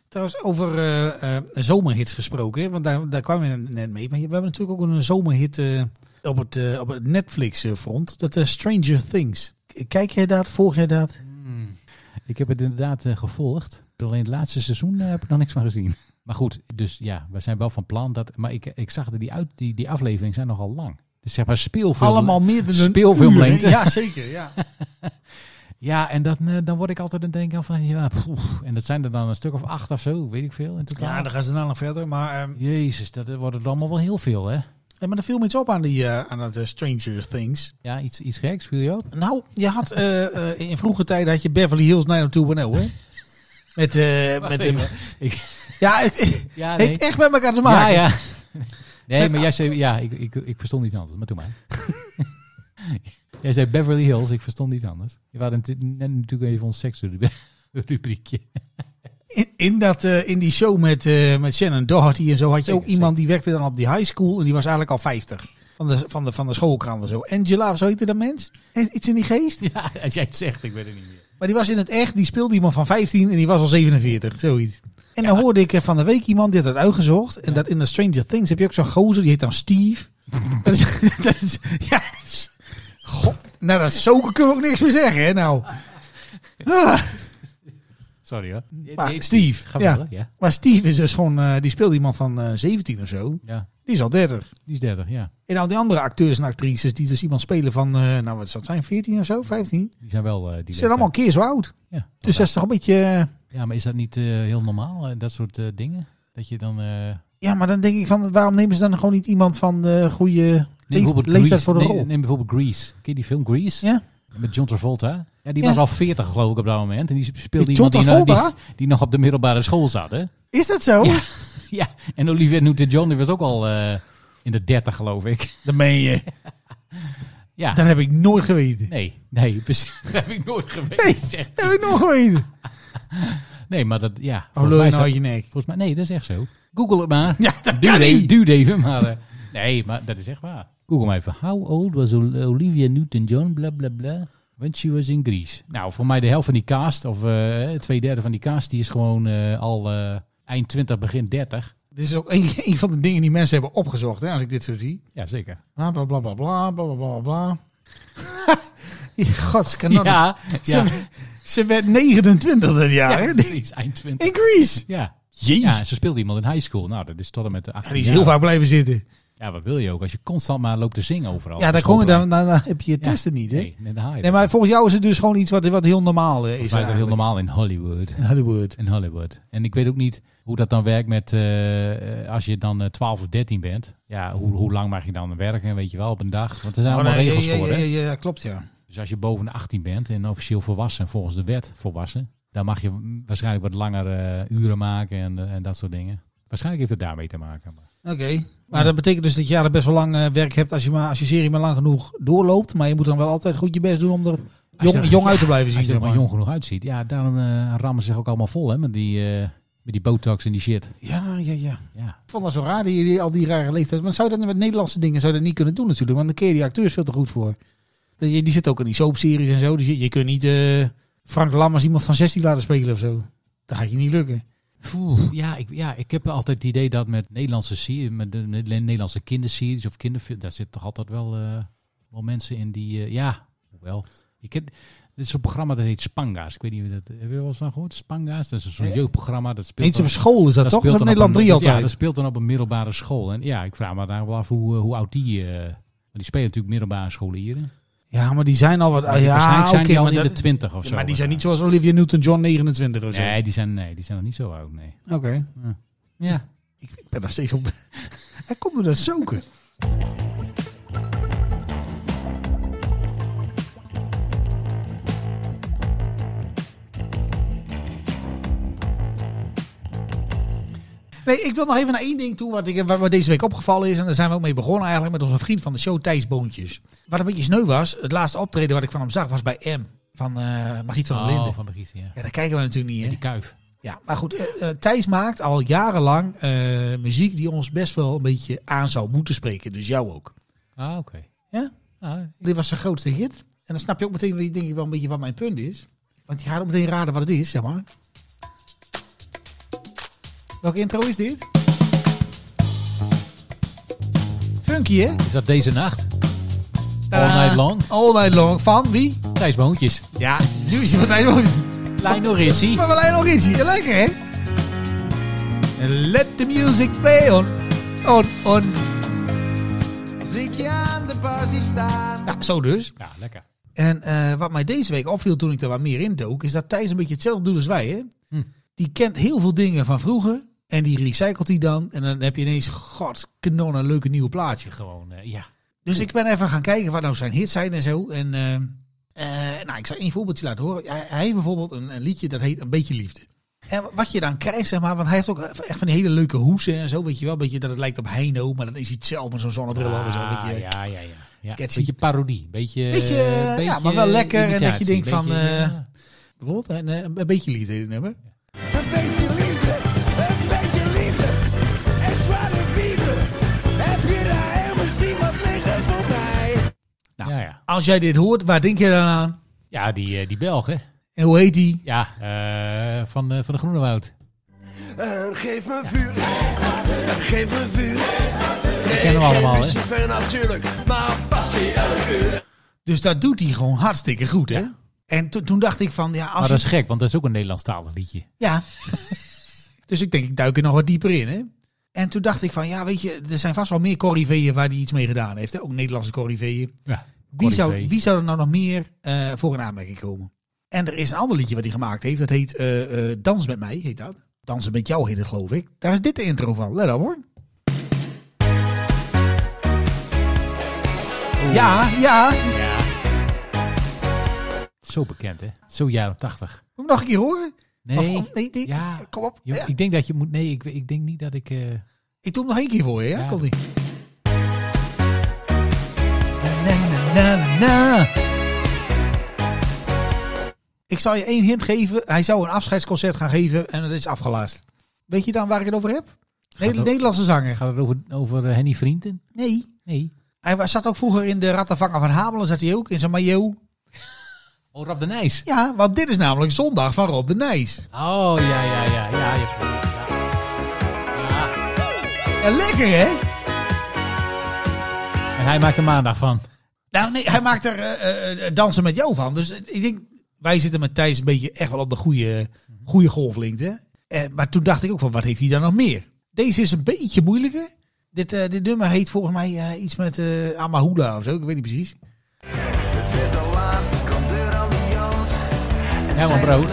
S4: Trouwens, over eh, eh, zomerhits gesproken, hè, want daar, daar kwamen we net mee. Maar we hebben natuurlijk ook een zomerhit eh, op het, eh, op het Netflix-front. Dat is Stranger Things. K- Kijk jij dat? Volg jij dat?
S1: Ik heb het inderdaad eh, gevolgd. Alleen het laatste seizoen eh, heb ik nog niks van gezien. Maar goed, dus ja, we zijn wel van plan dat. Maar ik, ik zag dat die, uit, die, die afleveringen zijn nogal lang. Dus zeg maar speelfilm.
S4: Allemaal meer dan een
S1: speelfilm
S4: uur, hè?
S1: lengte.
S4: Ja, zeker. Ja.
S1: Ja, en dat, eh, dan word ik altijd aan het denken van, ja, poef. en dat zijn er dan een stuk of acht of zo, weet ik veel. In totaal.
S4: ja, dan gaan ze daarna nog verder. Maar, ehm,
S1: Jezus, dat eh, wordt het allemaal wel heel veel, hè?
S4: ja, maar er viel me iets op aan, die, eh, aan dat eh, Stranger Things.
S1: Ja, iets, iets geks, viel je op?
S4: Nou, je had eh, eh, in vroege tijden had je Beverly Hills 90210, hè? Met, eh met
S1: even.
S4: eh,
S1: Ik,
S4: Ja, het
S1: ja, nee.
S4: heeft echt met elkaar te
S1: ja,
S4: maken.
S1: ja. Nee,
S4: Met-
S1: maar jij zei, ja, ik, ik, ik verstond iets anders, maar doe maar. jij zei Beverly Hills, ik verstond iets anders. Je waren natuurlijk- net natuurlijk even ons seksrubriekje.
S4: In, in, dat, eh, in die show met, eh, met Shannon Doherty en zo had je
S1: Zeker,
S4: ook iemand die werkte dan op die high school. En die was eigenlijk al 50. Van de, van de, van de schoolkrant en zo. Angela, of zo heette dat mens? Eh, Iets in die geest?
S1: ja, als jij het zegt, ik weet het niet meer.
S4: Maar die was in het echt, die speelde iemand van 15 en die was al 47, zoiets. En dan hoorde ik eh, van de week iemand, die had dat uitgezocht. En dat in de Stranger Things heb je ook zo'n gozer, die heet dan Steve. dat is, dat is, ja, god, nou dat zoken kunnen we ook niks meer zeggen, hè nou. Ah,
S1: Sorry hoor.
S4: maar Steve,
S1: Ga
S4: ja.
S1: verder, ja.
S4: Maar Steve is dus gewoon, eh, die speelde iemand van eh, 17 of zo.
S1: Ja,
S4: Die is al 30.
S1: die is 30, ja.
S4: En al die andere acteurs en actrices die dus iemand spelen van, eh, nou wat zou het zijn, 14 of zo, 15?
S1: Die zijn wel... eh, die
S4: Die
S1: leeftijd.
S4: zijn allemaal een keer zo oud.
S1: Ja.
S4: Dus dat is toch een beetje... eh,
S1: Ja, maar is dat niet eh, heel normaal, eh, dat soort eh, dingen? Dat je dan... eh
S4: Ja, maar dan denk ik van, waarom nemen ze dan gewoon niet iemand van de goede leeft, leeftijd
S1: Grease.
S4: voor de
S1: Nee,
S4: rol?
S1: neem bijvoorbeeld Grease. Ken je die film Grease?
S4: Ja.
S1: Met John Travolta. Ja, die
S4: Ja.
S1: was al 40 geloof ik op dat moment. En die speelde
S4: Die
S1: iemand
S4: John
S1: die, nog- die,
S4: Travolta?
S1: die nog op de middelbare school zat. Hè?
S4: Is dat zo?
S1: Ja. Ja, en Olivia Newton-John die was ook al eh, in de 30 geloof ik.
S4: Dan ben je...
S1: Ja,
S4: Dat heb ik nooit geweten.
S1: nee, nee, precies. dat heb ik nooit geweest.
S4: Nee.
S1: zegt
S4: Dat
S1: hij.
S4: heb ik nooit geweten.
S1: nee, maar dat, ja.
S4: Oh,
S1: volgens mij
S4: lul je
S1: is
S4: nou
S1: dat-
S4: uit je nek.
S1: Volgens mij, nee, dat is echt zo. Google het maar.
S4: Ja, dat
S1: Duur
S4: kan
S1: even,
S4: niet.
S1: duurt even, maar... eh, nee, maar dat is echt waar. Google maar even. How old was Ol- Olivia Newton-John, bla bla bla, when she was in Greece? Nou, voor mij de helft van die cast, of eh, twee derde van die cast, die is gewoon eh, al eh, eind 20, begin 30.
S4: Dit is ook een, een van de dingen die mensen hebben opgezocht, hè, als ik dit zo zie.
S1: Ja, zeker.
S4: Bla, bla, bla, bla, bla, bla, bla, bla, bla. Godskanaal.
S1: ja, ja,
S4: Ze, ze werd 29 dat
S1: ja,
S4: jaar, hè?
S1: precies, eind 20.
S4: In Greece.
S1: Ja.
S4: Jeez.
S1: ja, ze speelde iemand in high school. Nou, dat is tot en met de 18
S4: die is
S1: jaar.
S4: heel vaak blijven
S1: Oh,
S4: zitten.
S1: Ja, wat wil je ook? Als je constant maar loopt te zingen overal.
S4: Ja,
S1: op
S4: dan,
S1: de
S4: kom je
S1: schoolplein.
S4: dan, dan, dan heb je je
S1: Ja.
S4: testen niet, hè?
S1: Nee, nee, dan haal je
S4: Nee,
S1: dat.
S4: maar volgens jou is het dus gewoon iets wat, wat heel normaal eh, is.
S1: Volgens mij is dat heel
S4: eigenlijk.
S1: normaal in Hollywood.
S4: In Hollywood.
S1: In Hollywood. En ik weet ook niet hoe dat dan werkt met eh, eh, als je dan eh, 12 of 13 bent. Ja, hoe, hoe lang mag je dan werken, weet je wel, op een dag? Want er zijn
S4: Oh,
S1: allemaal
S4: nee, ja,
S1: regels
S4: ja,
S1: voor.
S4: ja,
S1: hè?
S4: ja, ja, klopt, ja.
S1: Dus als je boven de 18 bent en officieel volwassen, volgens de wet volwassen, dan mag je mm, waarschijnlijk wat langer eh, uren maken en, eh, en dat soort dingen. Waarschijnlijk heeft het daarmee te maken. maar-
S4: Oké. Maar dat betekent dus dat je er best wel lang eh, werk hebt als je, maar, als je serie maar lang genoeg doorloopt. Maar je moet dan wel altijd goed je best doen om er jong,
S1: er-
S4: jong uit te blijven zien.
S1: Als je er
S4: zeg
S1: maar
S4: maar.
S1: jong genoeg uitziet. Ja, daarom eh, rammen ze zich ook allemaal vol hè, met, die, eh, met die botox en die shit.
S4: Ja, ja, ja.
S1: Ja,
S4: Ik vond dat zo raar, die, die- al die rare leeftijd. Want zou je dat met Nederlandse dingen zou je dat niet kunnen doen natuurlijk. Want dan keer die acteurs veel te goed voor. Dat je- Die zit ook in die soapseries en zo. Dus je, je kunt niet eh, Frank Lammers iemand van 16 laten spelen of zo. Dat gaat je niet lukken.
S1: Oeh, ja, ik, ja, ik heb altijd het idee dat met Nederlandse, serie- met de met Nederlandse kinderseries of kinderfilms, daar zitten toch altijd wel, eh, wel mensen in die, eh, ja, wel. Ik heb, dit is een programma dat heet Spanga's. Ik weet niet, of je dat, heb je er wel eens van gehoord? Spanga's, dat is zo'n jeugdprogramma. Dat speelt
S4: Eens
S1: dan-
S4: op school is dat, Eh? toch? Dat
S1: speelt
S4: is op
S1: dan op
S4: Nederland
S1: een-
S4: 3
S1: Ja,
S4: altijd.
S1: dat speelt dan op een middelbare school. En ja, ik vraag me daar wel af hoe, eh, hoe oud die... eh, want die spelen natuurlijk middelbare scholieren.
S4: Ja, maar die zijn al wat...
S1: Maar die-
S4: Ah, ja,
S1: waarschijnlijk
S4: oké,
S1: zijn die al
S4: maar
S1: in
S4: dat-
S1: de twintig of zo.
S4: Maar die zijn niet zoals Olivia Newton-John 29 of zo.
S1: Nee, die zijn, nee, die zijn nog niet zo oud, nee.
S4: Oké.
S1: Ja.
S4: Ik, ik ben nog steeds op... Hij komt door dat zoeken. Nee, ik wil nog even naar één ding toe wat, ik, wat me deze week opgevallen is. En daar zijn we ook mee begonnen eigenlijk met onze vriend van de show, Thijs Boontjes. Wat een beetje sneu was, het laatste optreden wat ik van hem zag was bij M. Van eh Margriet van der
S1: Oh,
S4: Linden.
S1: van Brigitte, ja.
S4: Ja, daar kijken we natuurlijk niet, hè?
S1: Die kuif.
S4: Ja, maar goed, eh, eh, Thijs maakt al jarenlang eh, muziek die ons best wel een beetje aan zou moeten spreken. Dus jou ook.
S1: Ah, oké.
S4: Ja?
S1: Ah,
S4: Dit was zijn grootste hit. En dan snap je ook meteen weer- denk ik, wel een beetje wat mijn punt is. Want je gaat ook meteen raden wat het is, zeg maar. Welke intro is dit? Funky, hè?
S1: is dat deze nacht? All Night Long?
S4: All Night Long. Van wie?
S1: Thijs Boontjes.
S4: Ja, nu is hij van Thijs Boontjes.
S1: Lijn Orissi.
S4: Maar Marlijn Origi, lekker hè? En Let the music play on, on, on.
S5: Zie ik je aan de bar zien staan.
S4: Nou, zo dus.
S1: Ja, lekker.
S4: En eh, wat mij deze week opviel toen ik er wat meer in dook, is dat Thijs een beetje hetzelfde doet als wij hè.
S1: Hm.
S4: Die kent heel veel dingen van vroeger en die recycelt die dan. En dan heb je ineens, god, kanon, een leuke nieuwe plaatje.
S1: Gewoon, eh, ja.
S4: Dus ik ben even gaan kijken wat nou zijn hits zijn en zo. En eh, eh, nou, ik zal één voorbeeldje laten horen. Hij, hij heeft bijvoorbeeld een, een liedje dat heet Een Beetje Liefde. En wat je dan krijgt, zeg maar, want hij heeft ook e-, echt van die hele leuke hoesen en zo, weet je wel. Een beetje dat het lijkt op Heino, maar dat is hij het zelf met zo'n zonnebril op en zo.
S1: Ah,
S4: Weet je,
S1: ja, ja, ja. ja.
S4: Catchy.
S1: Beetje parodie. Beetje, eh,
S4: Beetje, ja,
S1: beetje
S4: maar wel lekker en dat je
S1: imitatie,
S4: denkt van,
S1: beetje,
S4: eh,
S1: ja.
S4: Bijvoorbeeld, en, eh, Een Beetje Liefde heet het nummer.
S5: Een beetje liefde, een beetje liefde. En zware wiebel. Heb je daar heel misschien wat liggen voor mij?
S4: Nou,
S1: Ja, ja.
S4: als jij dit hoort, waar denk je dan aan?
S1: Ja, die, eh, die Belgen.
S4: En hoe heet die?
S1: Ja, eh, van, eh, van de Groenewoud.
S5: Eh, geef me vuur, Eh, geef me vuur.
S1: Die kennen we allemaal, hè?
S5: Lucifer natuurlijk, maar passie elke uur.
S4: Dus dat doet hij gewoon hartstikke goed, hè? En to- toen dacht ik van, ja, als
S1: Maar
S4: je-
S1: dat is gek, want dat is ook een Nederlandstalig liedje.
S4: Ja. dus ik denk, ik duik er nog wat dieper in, hè. En toen dacht ik van, ja, weet je, er zijn vast wel meer corriveeën waar hij iets mee gedaan heeft. Hè? Ook Nederlandse corriveeën.
S1: Ja.
S4: Wie zou,
S1: Corrivee.
S4: wie zou er nou nog meer eh, voor een aanmerking komen? En er is een ander liedje wat hij gemaakt heeft. Dat heet eh, eh, Dans met mij, heet dat. Dansen met jou heet het, geloof ik. Daar is dit de intro van. Let op, hoor. Ja, ja. Moet
S1: Zo bekend, hè? Zo jaren tachtig.
S4: ik hem nog een keer horen? Of-
S1: Nee,
S4: of- nee, nee.
S1: Ja.
S4: Kom op.
S1: joh,
S4: Ja.
S1: ik denk dat je moet... Nee, ik, ik denk niet dat ik... eh,
S4: Ik doe hem nog één keer voor je, ja?
S1: Ja,
S4: Komt
S1: doe.
S4: ie. Na, na, na, na. Ik zal je één hint geven. Hij zou een afscheidsconcert gaan geven en het is afgelast. Weet je dan waar ik het over heb? Neder-
S1: ook-
S4: Nederlandse zanger.
S1: gaat het over, over eh, Henny Vrienden?
S4: Nee.
S1: Nee.
S4: Hij wa- zat ook vroeger in de Rattenvanger van Hamelen. Zat hij ook in zijn maillot.
S1: Oh, Rob de Nijs.
S4: Ja, want dit is namelijk zondag van Rob de Nijs.
S1: Oh, ja, ja, ja. Ja, je hebt gelijk. ja. Ja.
S4: Ja, lekker hè?
S1: En hij maakt er maandag van.
S4: Nou, nee, hij maakt er eh, eh, eh, dansen met jou van. Dus eh, ik denk, wij zitten met Thijs een beetje echt wel op de goede, goede golflengte. Eh, maar toen dacht ik ook van, wat heeft hij dan nog meer? Deze is een beetje moeilijker. Dit, eh, dit nummer heet volgens mij eh, iets met eh Amahula of zo, ik weet niet precies.
S1: Herman Brood.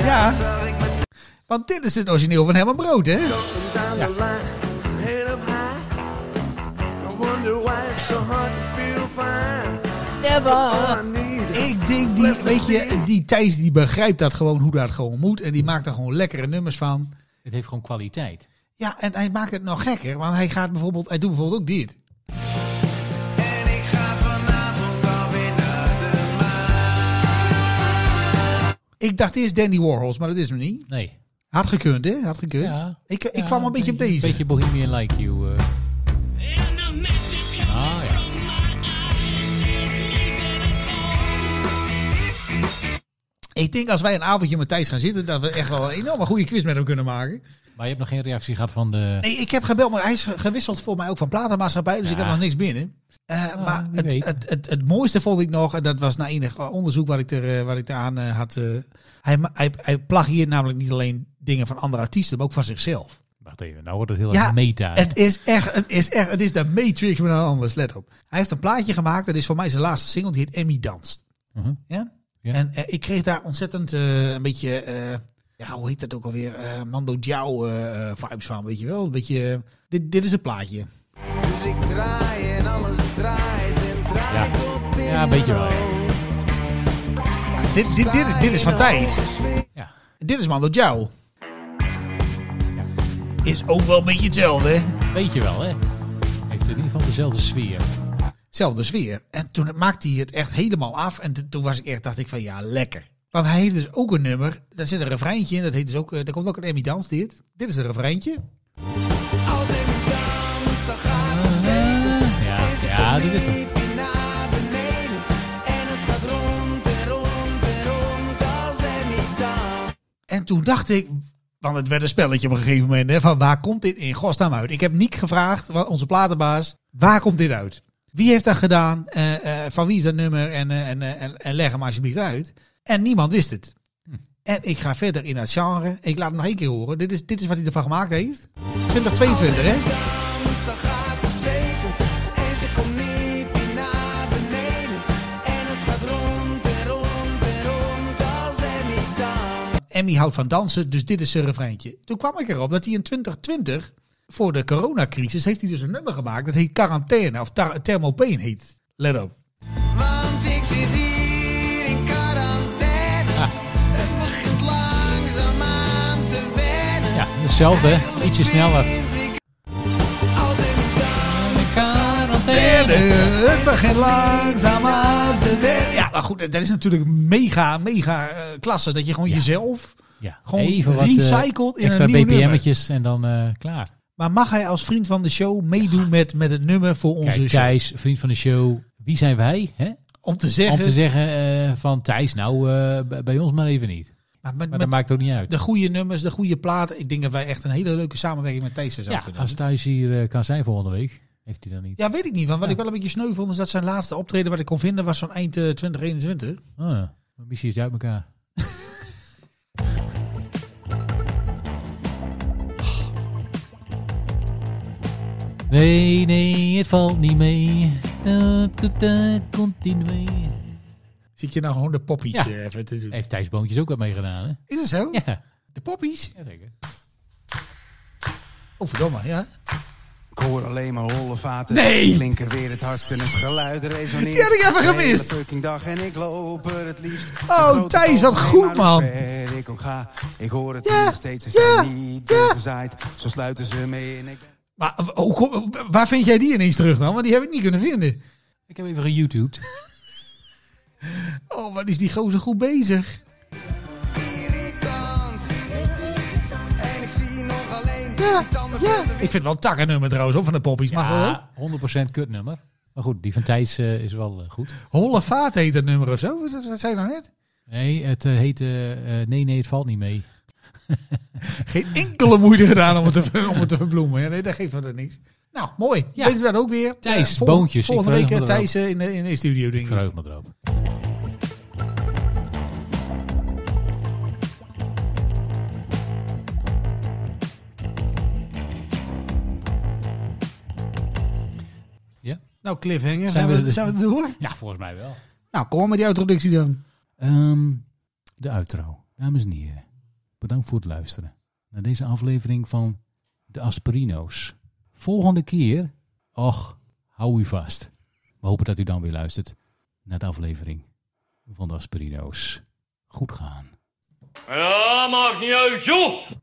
S4: Ja, want dit is het origineel van Herman Brood, hè?
S2: Oh,
S4: Ik denk, die, weet je, die Thijs die begrijpt dat gewoon hoe dat gewoon moet. En die maakt er gewoon lekkere nummers van.
S1: Het heeft gewoon kwaliteit.
S4: Ja, en hij maakt het nog gekker, want hij gaat bijvoorbeeld, hij doet bijvoorbeeld ook dit.
S5: En ik ga vanavond alweer naar de
S4: Ik dacht eerst Dandy Warhols, maar dat is hem niet.
S1: Nee.
S4: Had gekund, hè? Had gekund.
S1: Ja.
S4: Ik, ik
S1: Ja,
S4: kwam een beetje op deze.
S1: Een beetje Bohemian Like You. eh. Ah, ja.
S4: Ik denk als wij een avondje met Thijs gaan zitten, dat we echt wel een enorme goede quiz met hem kunnen maken.
S1: Maar je hebt nog geen reactie gehad van de...
S4: Nee, ik heb gebeld, maar hij is gewisseld voor mij ook van platenmaatschappij, dus ik
S1: Ja. Ah,
S4: heb nog niks binnen. Eh, maar
S1: wie
S4: het,
S1: weet.
S4: het, het, het mooiste vond ik nog, en dat was na enig onderzoek wat ik, er, eh, wat ik eraan eh, had. eh, hij, ma- hij, hij plagieert namelijk niet alleen dingen van andere artiesten, maar ook van zichzelf.
S1: Wacht even, nou wordt het heel
S4: Ja,
S1: erg meta. hè?
S4: Het is echt, het is echt, het is de Matrix met een anders, let op. Hij heeft een plaatje gemaakt, dat is voor mij zijn laatste single, die heet Emmy Danst.
S1: Mhm.
S4: Ja?
S1: Ja.
S4: En eh, ik kreeg daar ontzettend eh, een beetje, eh, ja, hoe heet dat ook alweer? eh Mando Diao eh, eh, vibes van, weet je wel? Een beetje, eh, dit, dit is het plaatje.
S5: Dus ik draai en alles draait en draait
S1: Ja.
S5: tot in
S1: Ja, een beetje wel, ja.
S5: mijn hoofd.
S4: Dit, dit, dit, dit is van Thijs.
S1: Ja.
S4: Dit is Mando Jou. Is ook wel een beetje hetzelfde, hè?
S1: Weet je wel, hè? Heeft in ieder geval dezelfde sfeer.
S4: Zelfde sfeer. En toen maakte hij het echt helemaal af. En t- toen was ik echt, dacht ik van ja, lekker. Want hij heeft dus ook een nummer. Daar zit een refreintje in. Dat heet dus ook, eh, daar komt ook een Emmy Dans dit. Dit is een refreintje.
S5: Als ik dans, dan gaat het
S1: Ja, ja dit is hem.
S5: diepje naar beneden. En het gaat rond en rond en rond als Emmy dans.
S4: En toen dacht ik, want het werd een spelletje op een gegeven moment, hè, van waar komt dit in godsnaam uit? Ik heb Niek gevraagd, wa- onze platenbaas, waar komt dit uit? Wie heeft dat gedaan? Eh, eh, van wie is dat nummer? En, eh, en, eh, en, en leg hem alsjeblieft uit. En niemand wist het. En ik ga verder in het genre. Ik laat hem nog één keer horen. Dit is, dit is wat hij ervan gemaakt heeft. 2022, hè?
S5: Dans, dan gaat ze zweven. En ze komt niet meer naar beneden. En het gaat rond en rond en rond als Emmy dans.
S4: Emmy houdt van dansen, dus dit is zijn refreintje. Toen kwam ik erop dat hij in 2020, voor de coronacrisis, heeft hij dus een nummer gemaakt. Dat heet Quarantaine, of tar- Thermopane heet. Let op.
S5: Want ik zit hier in quarantaine. Het begint langzaamaan te wennen.
S1: Ja, hetzelfde, hè? Ietsje sneller.
S5: Vind ik- Als ik dans,
S1: eh,
S4: Het begint langzaam aan te wennen. Ja, maar goed, dat is natuurlijk mega, mega eh, klasse. Dat je gewoon jezelf...
S1: Ja,
S4: Gewoon
S1: even wat eh,
S4: recycled in
S1: extra
S4: een nieuw
S1: BPM'tjes en dan eh, klaar.
S4: Maar mag hij als vriend van de show meedoen met, met het nummer voor onze
S1: Kijk,
S4: show?
S1: Thijs, vriend van de show. Wie zijn wij? Hè?
S4: Om te zeggen...
S1: Om te zeggen eh, van Thijs, nou eh, b- bij ons maar even niet.
S4: maar met,
S1: Maar
S4: met
S1: dat maakt ook niet uit.
S4: de goede nummers, de goede platen. Ik denk dat wij echt een hele leuke samenwerking met Thijs zouden
S1: Ja,
S4: kunnen
S1: als
S4: hebben.
S1: Thijs hier eh, kan zijn volgende week, heeft hij dan niet.
S4: Ja, weet ik niet. Want wat
S1: Ja.
S4: ik wel een beetje sneu vond, is dat zijn laatste optreden wat ik kon vinden was van eind eh, 2021.
S1: Oh, ja. Maar misschien is hij uit elkaar. Nee, nee, het valt niet mee. Da, da, da, continue.
S4: Zie ik je nou gewoon de poppies
S1: Ja.
S4: eh, even te doen.
S1: Heeft Thijs Boontjes ook wat meegedaan, hè?
S4: Is het zo?
S1: Ja.
S4: De poppies?
S1: ja zeker.
S4: Oh, verdomme, ja.
S7: Ik hoor alleen maar holle vaten.
S4: Nee!
S7: Klinken weer het hardst en het geluid resoneert.
S4: Die had ik even
S7: De hele
S4: gemist.
S7: fucking dag en ik loop er het liefst. De
S4: Oh,
S7: grote
S4: Thijs, wat
S7: boom,
S4: goed,
S7: maar hoe
S4: man.
S7: ver Ik, ook ga, ik hoor het
S4: Ja,
S7: hier nog steeds, ze
S4: ja,
S7: zijn niet
S4: ja.
S7: doorgezaaid. Zo sluiten ze mee en ik...
S4: Maar oh, kom, waar vind jij die ineens terug dan? Want die heb ik niet kunnen vinden.
S1: Ik heb even geYouTubed.
S4: Oh, wat is die gozer goed bezig.
S7: Irritant. En ik zie nog alleen
S4: Ja,
S7: tanden
S4: ja. Ik vind het wel een takkennummer trouwens, hoor, van de poppies. Mag wel, hoor.
S1: Ja, 100% Ah, kutnummer. Maar goed, die van Thijs eh, is wel eh, goed.
S4: Holle vaat heet dat nummer of zo. Wat wat zei je nou net?
S1: Nee, het eh, heet... eh, eh, nee, nee, het valt niet mee.
S4: Geen enkele moeite gedaan om het te, om het te verbloemen. Ja, nee, dat geeft verder niks. Nou, mooi.
S1: Ja.
S4: Weten we dat ook weer.
S1: Thijs,
S4: Eh, vol-
S1: boontjes. Ik
S4: Volgende week
S1: verheug
S4: eh,
S1: me erop.
S4: Thijs eh, in de, in de studio,
S1: Ik
S4: denk ik.
S1: verheug me erop. Ja?
S4: Nou, cliffhanger.
S1: Zijn
S4: Zijn
S1: we
S4: we,
S1: er-
S4: zijn we er door?
S1: Ja, volgens mij wel.
S4: Nou, kom maar met die introductie dan.
S1: Ehm, de outro. Dames en heren, bedankt voor het luisteren naar deze aflevering van De Aspirino's. Volgende keer, och, hou u vast. We hopen dat u dan weer luistert naar de aflevering van De Aspirino's. Goed gaan.
S3: Ja, maakt niet uit, joh!